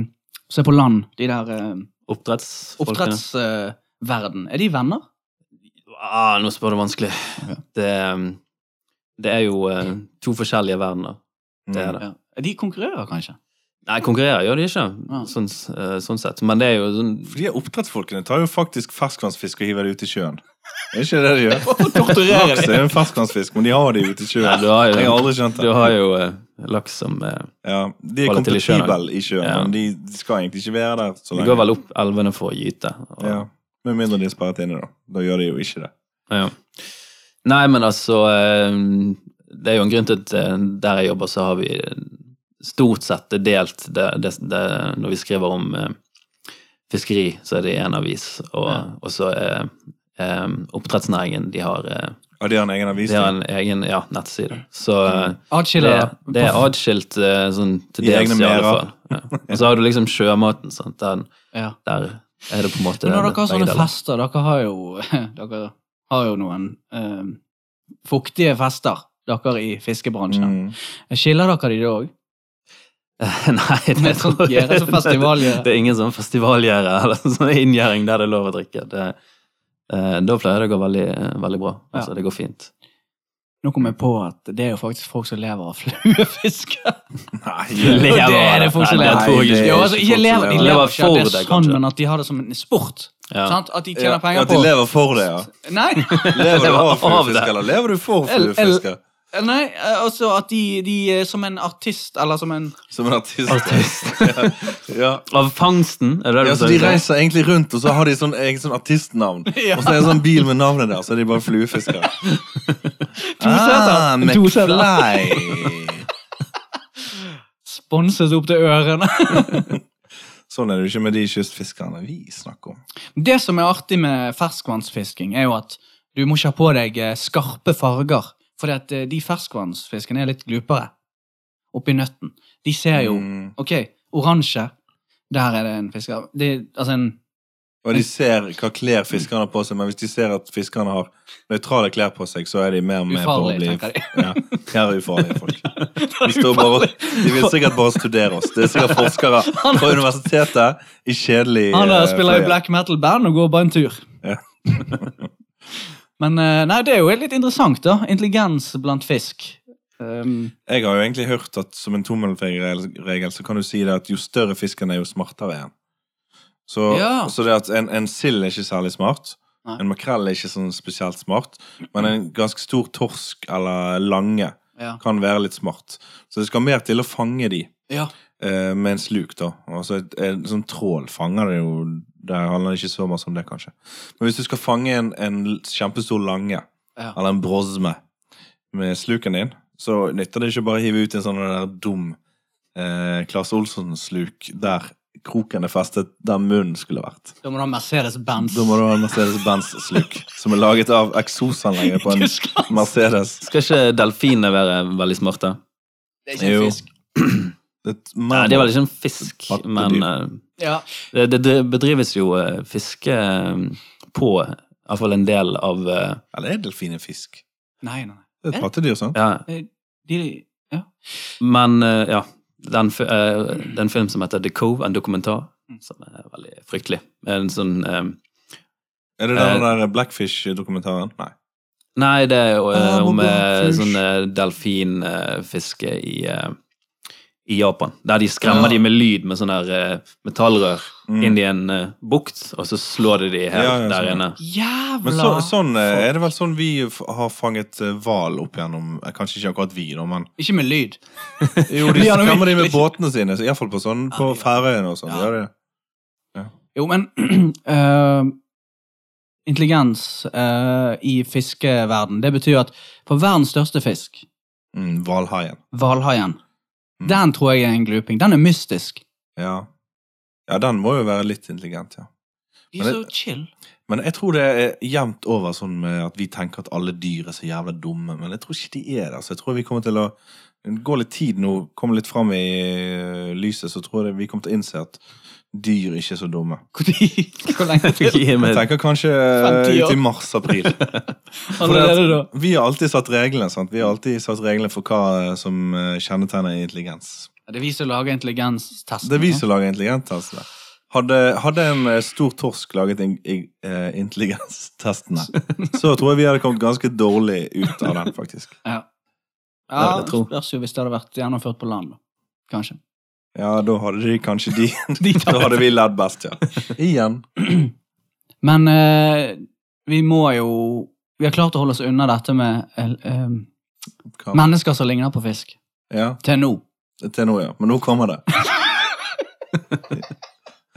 Speaker 1: som er på land? De der eh,
Speaker 3: Oppdrettsfolkene.
Speaker 1: oppdrettsverden. er de venner?
Speaker 3: Ah, nå spør du vanskelig. Det, um, det er jo eh, to forskjellige verdener. Det er det.
Speaker 1: Ja. De konkurrerer kanskje?
Speaker 3: Nei, konkurrerer gjør de ikke,
Speaker 1: Ja.
Speaker 3: sånn, eh, sånn sett. Men det er jo sånn
Speaker 2: For de oppdrettsfolkene tar jo faktisk ferskvannsfisk og hiver det ut i sjøen. Er ikke det de gjør?
Speaker 1: Hvorfor torturerer
Speaker 2: Laks er jo en ferskvannsfisk, men de har det ute i
Speaker 3: ja,
Speaker 2: sjøen.
Speaker 3: Du har
Speaker 2: Jeg har
Speaker 3: jo,
Speaker 2: aldri skjønt
Speaker 3: du
Speaker 2: det.
Speaker 3: har jo eh, laks som eh,
Speaker 2: Ja, de er
Speaker 3: Holder til i sjøen,
Speaker 2: kompatible i sjøen,
Speaker 3: Ja.
Speaker 2: men de de skal egentlig ikke være der så
Speaker 3: De går
Speaker 2: lenge.
Speaker 3: vel opp elvene for å gyte. og-
Speaker 2: Ja. Med mindre de er sperret inne, da. Da gjør de jo ikke det.
Speaker 3: Ja. Nei, men altså eh, Det er jo en grunn til at eh, der jeg jobber, så har vi eh, stort sett delt det, det, det Når vi skriver om eh, fiskeri, så er det i én avis, og,
Speaker 1: Ja.
Speaker 3: og så eh, eh, oppdrettsnæringen De har, eh,
Speaker 2: Ja, de har en egen avis.
Speaker 3: de har en egen ja, nettside. Så
Speaker 1: Mm.
Speaker 3: eh, det,
Speaker 1: Atskiller
Speaker 3: det er atskilt eh, sånn til
Speaker 2: I
Speaker 3: dels,
Speaker 2: egne
Speaker 3: i
Speaker 2: merder.
Speaker 3: alle fall. Ja. Og så har du liksom sjømaten. Sant? Der,
Speaker 1: ja.
Speaker 3: der er det på en måte
Speaker 1: Men når dere har
Speaker 3: begge
Speaker 1: sånne
Speaker 3: deler.
Speaker 1: fester, dere har jo, dere har jo noen eh, fuktige fester, dere i fiskebransjen.
Speaker 2: Mm.
Speaker 1: Skiller dere de da òg?
Speaker 3: Nei, det
Speaker 1: Med Altså sånt
Speaker 3: tror jeg
Speaker 1: gjerde som festivalgjerde.
Speaker 3: Det er ingen sånn festivalgjerde eller sånn inngjerding der det er lov å drikke. Det, eh, da pleier det å gå veldig, eh, veldig bra. Altså, Det går fint.
Speaker 1: Nå kom jeg på at det er jo faktisk folk som lever av fluefiske.
Speaker 2: Nei,
Speaker 3: Lever
Speaker 1: det er det
Speaker 3: av
Speaker 1: folk som
Speaker 3: Nei,
Speaker 1: lever
Speaker 2: det tror jeg ikke.
Speaker 1: Jo, altså, ikke
Speaker 2: Folk som
Speaker 1: lever, de lever
Speaker 2: lever.
Speaker 3: Lever
Speaker 1: ikke av
Speaker 3: for
Speaker 1: det,
Speaker 3: det,
Speaker 1: sånn,
Speaker 3: kanskje.
Speaker 1: men at de har det som en sport.
Speaker 3: Ja.
Speaker 1: Sant? At de
Speaker 2: Ja,
Speaker 1: tjener penger
Speaker 2: At
Speaker 1: på
Speaker 2: de lever for det, ja.
Speaker 1: Nei,
Speaker 2: Lever du
Speaker 3: Lever
Speaker 2: av
Speaker 3: av
Speaker 2: fluefisk,
Speaker 3: det.
Speaker 2: eller lever du for
Speaker 1: El- el-
Speaker 2: fluefisker?
Speaker 1: nei altså at de, de er som en artist, eller som en
Speaker 2: Som en artist. ja. Ja.
Speaker 3: Av fangsten, er det det
Speaker 2: Ja,
Speaker 3: du
Speaker 2: så De
Speaker 3: sier?
Speaker 2: reiser egentlig rundt, og så har de sånn egen sånn artistnavn.
Speaker 1: Ja.
Speaker 2: Og så er det en sånn bil med navnet der, så er de bare fluefiskere. Ah,
Speaker 1: seter. To seter.
Speaker 2: McFly.
Speaker 1: sponses opp til ørene.
Speaker 2: Sånn er det jo ikke med de kystfiskerne vi snakker om.
Speaker 1: Det som er artig med ferskvannsfisking, er jo at du må ikke ha på deg eh, skarpe farger. For de ferskvannsfiskene er litt glupere oppi nøtten. De ser jo
Speaker 2: Mm.
Speaker 1: Ok, oransje. Der er det en fisker. Det, altså en
Speaker 2: Og de ser hva klær fiskerne har på seg, men hvis de ser at fiskerne har nøytrale klær på seg, så er de mer med
Speaker 1: ufarlig,
Speaker 2: på å
Speaker 1: tenker
Speaker 2: bli
Speaker 1: jeg.
Speaker 2: ja, Her er ufarlige folk. De, står bare, de vil sikkert bare studere oss. Det er sikkert forskere fra universitetet i kjedelig
Speaker 1: Han der
Speaker 2: eh,
Speaker 1: spiller
Speaker 2: fløye.
Speaker 1: i black metal-band og går bare en tur.
Speaker 2: Ja.
Speaker 1: Men eh, nei, det er jo litt interessant, da. Intelligens blant fisk. Um,
Speaker 2: Jeg har jo egentlig hørt at som en tommelfingerregel så kan du si det at jo større fisken er, jo smartere er den. Så,
Speaker 1: Ja.
Speaker 2: så det at en, en sild er ikke særlig smart.
Speaker 1: Nei.
Speaker 2: En makrell er ikke sånn spesielt smart. Men en ganske stor torsk eller lange
Speaker 1: ja.
Speaker 2: kan være litt smart. Så det skal mer til å fange de
Speaker 1: ja.
Speaker 2: eh, med en sluk, da. Altså et, en sånn trål fanger det jo Det handler ikke så mye om det, kanskje. Men hvis du skal fange en, en kjempestor lange,
Speaker 1: Ja.
Speaker 2: eller en brosme, med sluken din, så nytter det ikke bare å hive ut en sånn der dum eh, Klasse Olsson-sluk der kroken er festet der munnen skulle vært.
Speaker 1: Da må du ha Mercedes-Benz.
Speaker 2: Da må du ha en Mercedes-Benz-sluk, som er laget av eksosanlegget på en Mercedes.
Speaker 3: Skal ikke delfinene være veldig smarte?
Speaker 1: Det er
Speaker 2: ikke en Jo. fisk. Det er et
Speaker 3: Nei, det er vel ikke en fisk,
Speaker 2: Pattedyr.
Speaker 3: men eh,
Speaker 1: Ja.
Speaker 3: det, det dri- bedrives jo eh, fiske eh, på iallfall en del av eh,
Speaker 2: Eller er delfin en fisk?
Speaker 1: Nei, nei, nei.
Speaker 2: Det er et pattedyr, sånn. sant?
Speaker 3: ja,
Speaker 1: De,
Speaker 3: Men eh, ja, den, fi- eh, den film som heter The Cove, en dokumentar,
Speaker 1: Mm.
Speaker 3: som er veldig fryktelig. En sånn eh,
Speaker 2: Er det den der Blackfish-dokumentaren? Nei.
Speaker 3: Nei, det er jo eh,
Speaker 2: Ah,
Speaker 3: om eh,
Speaker 2: boblefisk.
Speaker 3: sånn eh, delfinfiske i, eh, i Japan. Der de skremmer
Speaker 1: Ja.
Speaker 3: de med lyd med sånn der eh, metallrør
Speaker 2: Mm.
Speaker 3: inn i en eh, bukt, og så slår de de helt
Speaker 2: Ja, ja,
Speaker 3: der
Speaker 2: sånn.
Speaker 3: inne.
Speaker 1: Jævla
Speaker 2: Men så, sånn eh, er det vel sånn vi f- har fanget eh, hval opp gjennom eh, Kanskje ikke akkurat vi, da, men
Speaker 1: Ikke med lyd.
Speaker 2: Jo, de
Speaker 1: Vi har noe
Speaker 2: skremmer de med
Speaker 1: virkelig-
Speaker 2: båtene sine. så i hvert fall på, sånn, på
Speaker 1: Ja, ja.
Speaker 2: Færøyene og sånn.
Speaker 1: Ja.
Speaker 2: gjør de det?
Speaker 1: Jo, men eh, Intelligens eh, i fiskeverden, det betyr at for verdens største fisk,
Speaker 2: Mm, Hvalhaien.
Speaker 1: hvalhaien,
Speaker 2: Mm.
Speaker 1: den tror jeg er en gluping. Den er mystisk.
Speaker 2: Ja. ja, den må jo være litt intelligent, ja.
Speaker 1: De
Speaker 2: Men
Speaker 1: er
Speaker 2: det-
Speaker 1: så chill.
Speaker 2: Men jeg tror det er jevnt over sånn med at vi tenker at alle dyr er så jævla dumme. Men jeg tror ikke de er det. altså. Jeg tror vi kommer til å eh, gå litt tid nå, komme litt fram i øh, lyset, så tror jeg vi kommer til å innse at dyr ikke er så dumme.
Speaker 1: Hvor hvor lenge til?
Speaker 3: Gi
Speaker 2: Jeg
Speaker 3: meg-
Speaker 2: tenker kanskje eh,
Speaker 1: Fem, ti år.
Speaker 2: ut i mars-april.
Speaker 1: Allerede da.
Speaker 2: Vi har alltid satt reglene sant? Vi har alltid satt reglene for hva eh, som eh, kjennetegner intelligens.
Speaker 1: Ja, Det er vi som lager intelligenstesten.
Speaker 2: Det er vi som lager intelligenstestene. Hadde, hadde en eh, stor torsk laget in, i, eh, intelligenstestene, så tror jeg vi hadde kommet ganske dårlig ut av den, faktisk.
Speaker 1: Ja, ja
Speaker 3: Det vil jeg
Speaker 1: det
Speaker 3: tro.
Speaker 1: spørs jo hvis det hadde vært gjennomført på land, da. Kanskje.
Speaker 2: Ja, da hadde de kanskje de.
Speaker 1: De
Speaker 2: Da
Speaker 1: tar-
Speaker 2: hadde vi ledd best, ja. Igjen.
Speaker 1: Men eh, vi må jo Vi har klart å holde oss unna dette med eh, eh,
Speaker 2: Hva-
Speaker 1: mennesker som ligner på fisk.
Speaker 2: Ja,
Speaker 1: Til nå.
Speaker 2: til nå, ja. Men nå kommer det.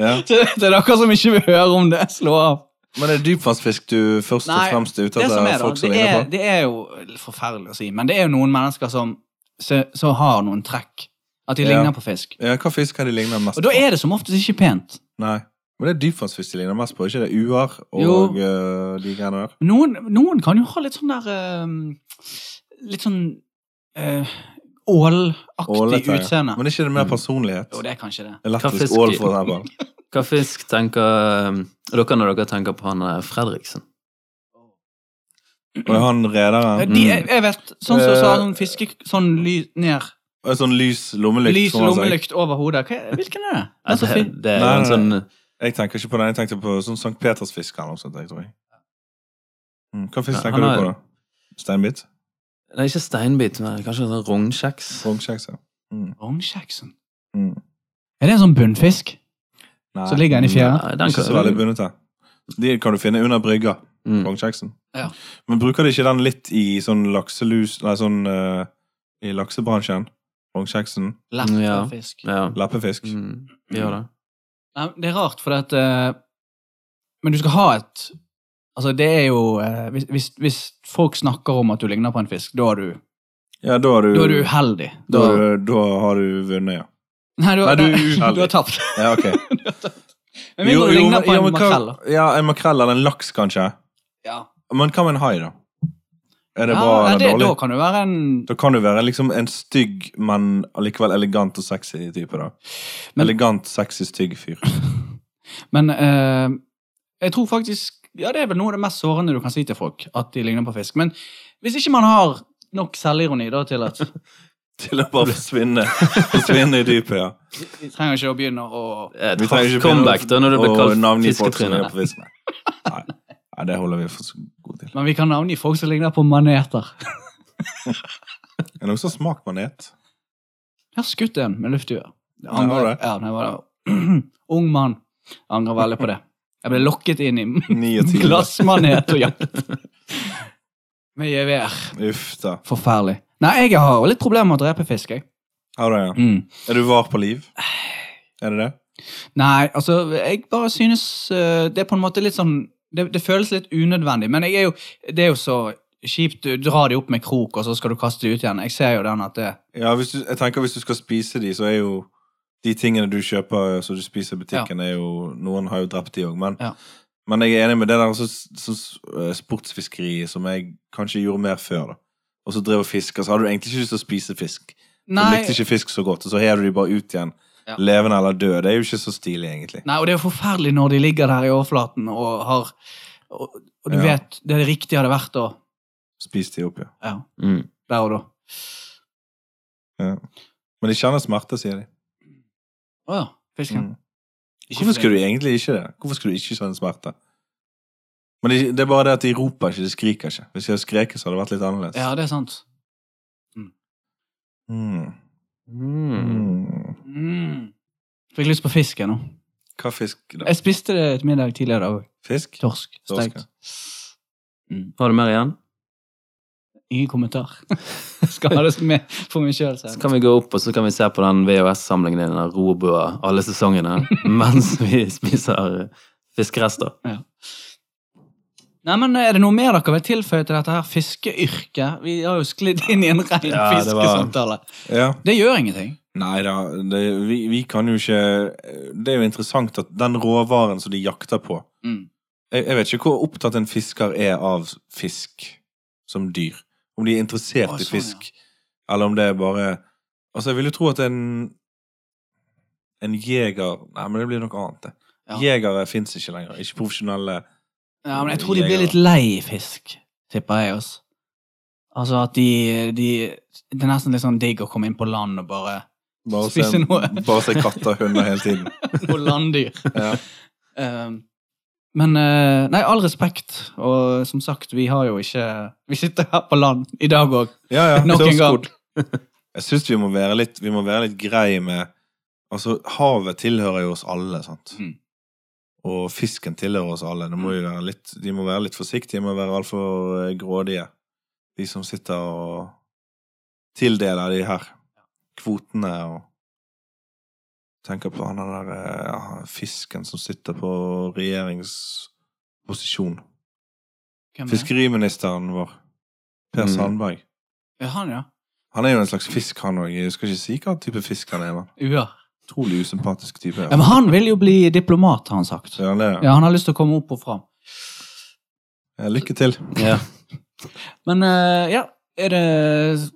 Speaker 2: Ja.
Speaker 1: Til til dere som ikke vil høre om det, slå av.
Speaker 2: Men det er dypvannsfisk du først og
Speaker 1: Nei,
Speaker 2: fremst er ute
Speaker 1: Det som
Speaker 2: etter?
Speaker 1: er, da,
Speaker 2: folk som
Speaker 1: det
Speaker 2: ligner
Speaker 1: er,
Speaker 2: på?
Speaker 1: det er jo forferdelig å si, men det er jo noen mennesker som, som som har noen trekk. At de
Speaker 2: Ja.
Speaker 1: ligner på fisk.
Speaker 2: Ja, hva fisk har de lignet mest
Speaker 1: Og da er det som oftest ikke pent.
Speaker 2: på? Nei. Men det er dypvannsfisk de ligner mest på, ikke det? Uer
Speaker 1: Jo.
Speaker 2: og eh, de greiene der?
Speaker 1: Noen, noen kan jo ha litt sånn der eh, Litt sånn eh, ålaktig
Speaker 2: Ålete, ja.
Speaker 1: utseende.
Speaker 2: Men er ikke det mer
Speaker 3: Mm.
Speaker 2: personlighet?
Speaker 1: Jo, det er kanskje det.
Speaker 2: Elektrisk
Speaker 3: Hva
Speaker 2: ål,
Speaker 3: fisk-
Speaker 2: for eksempel.
Speaker 3: Hva fisk tenker um, dere når dere tenker på han eh, Fredriksen?
Speaker 2: Og han rederen.
Speaker 1: De, jeg, jeg vet, sånn som
Speaker 2: mm. Eh,
Speaker 1: så har sånn fiske... Sånn ly, ned.
Speaker 2: Og en sånn altså, lys lommelykt.
Speaker 1: Lys
Speaker 2: som han sier.
Speaker 1: lommelykt over hodet. Hva, er- hvilken er det? Altså, Den
Speaker 3: Eh,
Speaker 1: som fin-
Speaker 3: Det, det er jo
Speaker 2: Nei,
Speaker 3: en
Speaker 2: nei,
Speaker 3: sånn
Speaker 2: Jeg tenker ikke på den. Jeg tenkte på sånn Sankt Petersfisk. Han også, jeg tror jeg. Mm, hva fisk
Speaker 3: Ja,
Speaker 2: tenker
Speaker 3: han
Speaker 2: du
Speaker 3: har-
Speaker 2: på, da? Steinbit?
Speaker 3: Nei, ikke steinbit, men kanskje en sånn rognkjeks.
Speaker 2: Rognkjeks? ja. Mm.
Speaker 1: Rognkjeksen.
Speaker 2: Mm.
Speaker 1: sånn. Er det en sånn bunnfisk?
Speaker 2: Nei,
Speaker 1: Så ligger den i fjæra?
Speaker 3: Nei,
Speaker 2: den
Speaker 3: den
Speaker 2: er Ikke så veldig bundet til. De kan du finne under brygga.
Speaker 3: Mm.
Speaker 2: Rognkjeksen.
Speaker 1: Ja.
Speaker 2: Men bruker de ikke den litt i sånn lakselus Nei, sånn eh, i laksebransjen? Rognkjeksen?
Speaker 1: Lett
Speaker 3: Ja.
Speaker 1: fisk.
Speaker 3: Ja.
Speaker 2: Leppefisk?
Speaker 3: Mm. Vi gjør det.
Speaker 1: Nei, det er rart, for at eh, Men du skal ha et Altså, det er jo eh, hvis, hvis, hvis folk snakker om at du ligner på en fisk, da er du,
Speaker 2: Ja, da har du
Speaker 1: da er du uheldig.
Speaker 2: da, har du- da har du vunnet, ja.
Speaker 1: Nei, du,
Speaker 2: Nei, du er uheldig.
Speaker 1: du har tapt.
Speaker 2: Ja, ok.
Speaker 1: Med mindre du ligner på en
Speaker 2: men hva-
Speaker 1: makrell. da.
Speaker 2: Ja, en makrell eller en laks, kanskje.
Speaker 1: Ja.
Speaker 2: Men hva med en hai, da? Er det
Speaker 1: Ja,
Speaker 2: bra
Speaker 1: nei,
Speaker 2: eller
Speaker 1: det,
Speaker 2: dårlig?
Speaker 1: Da kan du være en
Speaker 2: Da kan du være liksom en stygg, men allikevel elegant og sexy type, da.
Speaker 1: Men-
Speaker 2: elegant, sexy, stygg fyr.
Speaker 1: Men eh, jeg tror faktisk Ja, det er vel noe av det mest sårende du kan si til folk, at de ligner på fisk. Men hvis ikke man har nok selvironi da til at
Speaker 2: Til å bare forsvinne forsvinne i dypet, ja.
Speaker 1: vi trenger ikke å begynne å
Speaker 3: Et
Speaker 2: Vi trenger
Speaker 3: hardt
Speaker 2: ikke
Speaker 3: comeback da, når det blir
Speaker 2: Og
Speaker 3: kalt
Speaker 2: navngi folk som
Speaker 3: fisketryne.
Speaker 2: er på fisk. Nei. Nei, det holder vi for så god til.
Speaker 1: Men vi kan navngi folk som ligner på maneter.
Speaker 2: Er det noen som har smakt manet?
Speaker 1: Jeg har skutt en med luftdue.
Speaker 2: Ja, har du det?
Speaker 1: Ja, da jeg var ung mann. Jeg Angrer veldig på det. Jeg ble lokket inn i
Speaker 2: 29.
Speaker 1: glassmanet og jakt. Med gevær.
Speaker 2: Uff da.
Speaker 1: Forferdelig. Nei, jeg har jo litt problemer med å drepe fisk, jeg.
Speaker 2: Har du det, ja?
Speaker 1: Mm.
Speaker 2: Er du var på liv? Er det det?
Speaker 1: Nei, altså, jeg bare synes eh, Det er på en måte litt sånn Det, det føles litt unødvendig, men jeg er jo, det er jo så kjipt. Du drar de opp med krok, og så skal du kaste de ut igjen. Jeg ser jo den at det
Speaker 2: Ja, hvis du, jeg tenker hvis du skal spise de, så er jo de tingene du kjøper så du spiser i butikken, er jo Noen har jo drept de òg, men,
Speaker 1: Ja.
Speaker 2: men jeg er enig med det der også, så, eh, sportsfiskeriet som jeg kanskje gjorde mer før, da. Og så drev og fiska, så hadde du egentlig ikke lyst til å spise fisk. Du
Speaker 1: Nei,
Speaker 2: likte ikke fisk så godt, og så hev du de bare ut igjen.
Speaker 1: Ja.
Speaker 2: Levende eller død. Det er jo ikke så stilig, egentlig.
Speaker 1: nei og det er jo forferdelig når de ligger der i overflaten og har Og, og du
Speaker 2: Ja.
Speaker 1: vet det det riktige hadde vært å
Speaker 2: Spis de opp, ja.
Speaker 1: Ja,
Speaker 3: Mm.
Speaker 1: der og da.
Speaker 2: Men de kjenner smerte, sier de.
Speaker 1: Å ja. Fisken.
Speaker 2: Mm. Hvorfor skulle du egentlig ikke det? Hvorfor skulle du ikke kjenne smerte? Men de, det er bare det at de roper ikke, de skriker ikke. Hvis de hadde skreket, så hadde det vært litt annerledes.
Speaker 1: Ja, det er sant.
Speaker 2: Mm.
Speaker 3: Mm.
Speaker 2: Mm.
Speaker 1: Mm. Fikk lyst på fisk jeg nå.
Speaker 2: Hva fisk, da?
Speaker 1: Jeg spiste det til middag tidligere i dag.
Speaker 2: Fisk?
Speaker 1: Torsk.
Speaker 2: Torsk,
Speaker 1: Steikt.
Speaker 3: Har du mer igjen?
Speaker 1: Ingen kommentar. Skal ha det med for meg sjøl.
Speaker 3: Så kan vi gå opp og så kan vi se på den VHS-samlingen din av Robua alle sesongene mens vi spiser fiskerester.
Speaker 1: Nei, men Er det noe mer dere vil tilføye til dette her fiskeyrket? Vi har jo sklidd inn i en ren
Speaker 3: Ja, det var-
Speaker 1: fiskesamtale.
Speaker 2: Ja.
Speaker 1: Det gjør ingenting.
Speaker 2: Nei da, det, vi, vi kan jo ikke Det er jo interessant at den råvaren som de jakter på
Speaker 1: Mm.
Speaker 2: jeg, jeg vet ikke hvor opptatt en fisker er av fisk som dyr. Om de er interessert
Speaker 1: Å,
Speaker 2: i
Speaker 1: sånn, ja.
Speaker 2: fisk, eller om det er bare Altså, jeg vil jo tro at en En jeger Nei, men det blir noe annet, det.
Speaker 1: Ja.
Speaker 2: Jegere fins ikke lenger. Ikke profesjonelle
Speaker 1: Ja, men jeg tror de blir litt lei fisk, tipper jeg også. Altså at de, de Det er nesten litt sånn digg å komme inn på land og bare
Speaker 2: Bare se,
Speaker 1: Spiser noe.
Speaker 2: bare se katter og hunder hele tiden.
Speaker 1: noe landdyr.
Speaker 2: Ja.
Speaker 1: Um, men eh, Nei, all respekt, og som sagt, vi har jo ikke Vi sitter her på land i dag òg,
Speaker 2: Ja, ja.
Speaker 1: nok en
Speaker 2: toast
Speaker 1: gang.
Speaker 2: good. Jeg syns vi må være litt Vi må være litt grei med Altså, havet tilhører jo oss alle, sant?
Speaker 1: Mm.
Speaker 2: Og fisken tilhører oss alle. Det må jo være litt, de må være litt forsiktige, de må være altfor eh, grådige, de som sitter og tildeler de her kvotene og tenker på han der eh, ja, fisken som sitter på regjeringsposisjon.
Speaker 1: Hvem er det?
Speaker 2: Fiskeriministeren vår, Per
Speaker 3: Mm.
Speaker 2: Sandberg.
Speaker 1: Ja, han, ja.
Speaker 2: Han er jo en slags fisk, han òg. Jeg skal ikke si hva type fisk han er. men
Speaker 1: Uer.
Speaker 2: Utrolig usympatisk type.
Speaker 1: Ja, men han vil jo bli diplomat, har han sagt.
Speaker 2: Ja, det er.
Speaker 1: Ja, han har lyst til å komme opp og fram.
Speaker 2: Ja, Lykke til.
Speaker 3: Ja.
Speaker 1: Men eh, ja, er det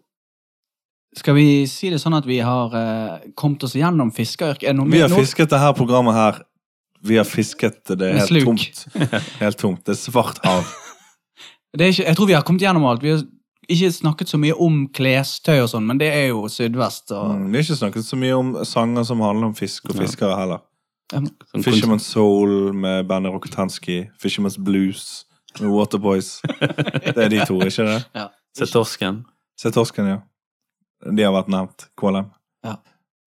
Speaker 1: Skal vi si det sånn at vi har eh, kommet oss gjennom fiskeyrket? Er det noe
Speaker 2: Vi
Speaker 1: mer-
Speaker 2: har
Speaker 1: noe-
Speaker 2: fisket det her programmet her. Vi har fisket det
Speaker 1: Med
Speaker 2: helt
Speaker 1: sluk.
Speaker 2: tomt. Helt tomt. Det er svart hav.
Speaker 1: Det er ikke, jeg tror vi har kommet gjennom alt. Vi har ikke snakket så mye om klestøy og sånn, men det er jo sydvest og
Speaker 2: Mm, Vi har ikke snakket så mye om sanger som handler om fisk og
Speaker 3: Ja.
Speaker 2: fiskere heller.
Speaker 3: Sånn kons-
Speaker 2: Fisherman's Soul med bandet Rokotansky. Fisherman's Blues med Waterboys. Det er de to, ikke det?
Speaker 3: Se torsken.
Speaker 2: Se torsken, ja. De har vært nevnt. KLM.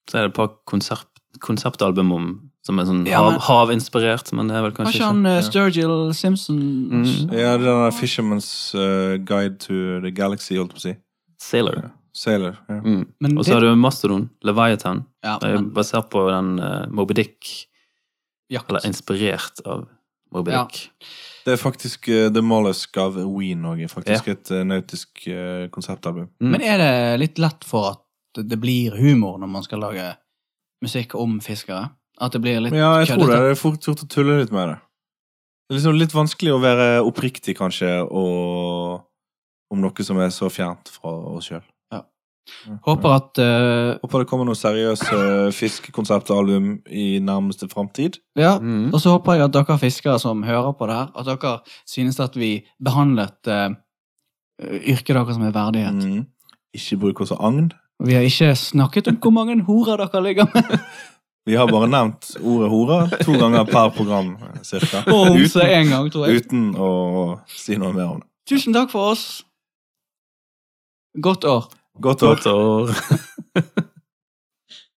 Speaker 3: Så er det et par konsept, konseptalbum om som er sånn
Speaker 1: Ja, men-
Speaker 3: hav, havinspirert, men det er vel
Speaker 1: Har
Speaker 3: kanskje
Speaker 1: ikke
Speaker 3: ikke
Speaker 1: han eh,
Speaker 2: ja.
Speaker 1: Sturgill Simpson
Speaker 3: Mm.
Speaker 2: Ja, det er den der Fisherman's eh, Guide to the Galaxy, holdt på å si.
Speaker 3: Sailor.
Speaker 2: Sailor. Ja.
Speaker 3: Mm.
Speaker 1: Men
Speaker 3: Og
Speaker 1: det-
Speaker 3: så har du Mastodon, Leviathan,
Speaker 1: ja,
Speaker 3: Det er jo
Speaker 1: men,
Speaker 3: basert på den eh, Moby Dick,
Speaker 1: jakt.
Speaker 3: eller inspirert av Moby
Speaker 1: Ja.
Speaker 3: Dick.
Speaker 2: Det er faktisk eh, The Mollusk av Ween òg. Faktisk et eh, nautisk eh, konseptalbum.
Speaker 3: Mm.
Speaker 1: Men er det litt lett for at det blir humor når man skal lage musikk om fiskere? At det blir litt
Speaker 2: Men ja, jeg tror det.
Speaker 1: køddete?
Speaker 2: Det er fort gjort å tulle litt med det. Det er liksom litt vanskelig å være oppriktig, kanskje, og om noe som er så fjernt fra oss sjøl.
Speaker 1: Ja. Håper at eh,
Speaker 2: Håper det kommer noe seriøse fiskekonseptalbum i nærmeste framtid.
Speaker 1: Ja.
Speaker 3: Mm.
Speaker 1: Og så håper jeg at dere fiskere som hører på det her, at dere synes at vi behandlet eh, yrket deres med verdighet.
Speaker 2: Mm. Ikke bruk oss av agn.
Speaker 1: Vi har ikke snakket om hvor mange horer dere ligger med.
Speaker 2: Vi har bare nevnt ordet hore to ganger per program, eh, cirka.
Speaker 1: Og homse
Speaker 2: Uten,
Speaker 1: en gang, tror jeg.
Speaker 2: uten å si noe mer om det.
Speaker 1: Tusen takk for oss. Godt år.
Speaker 2: Godt år.
Speaker 3: Godt år.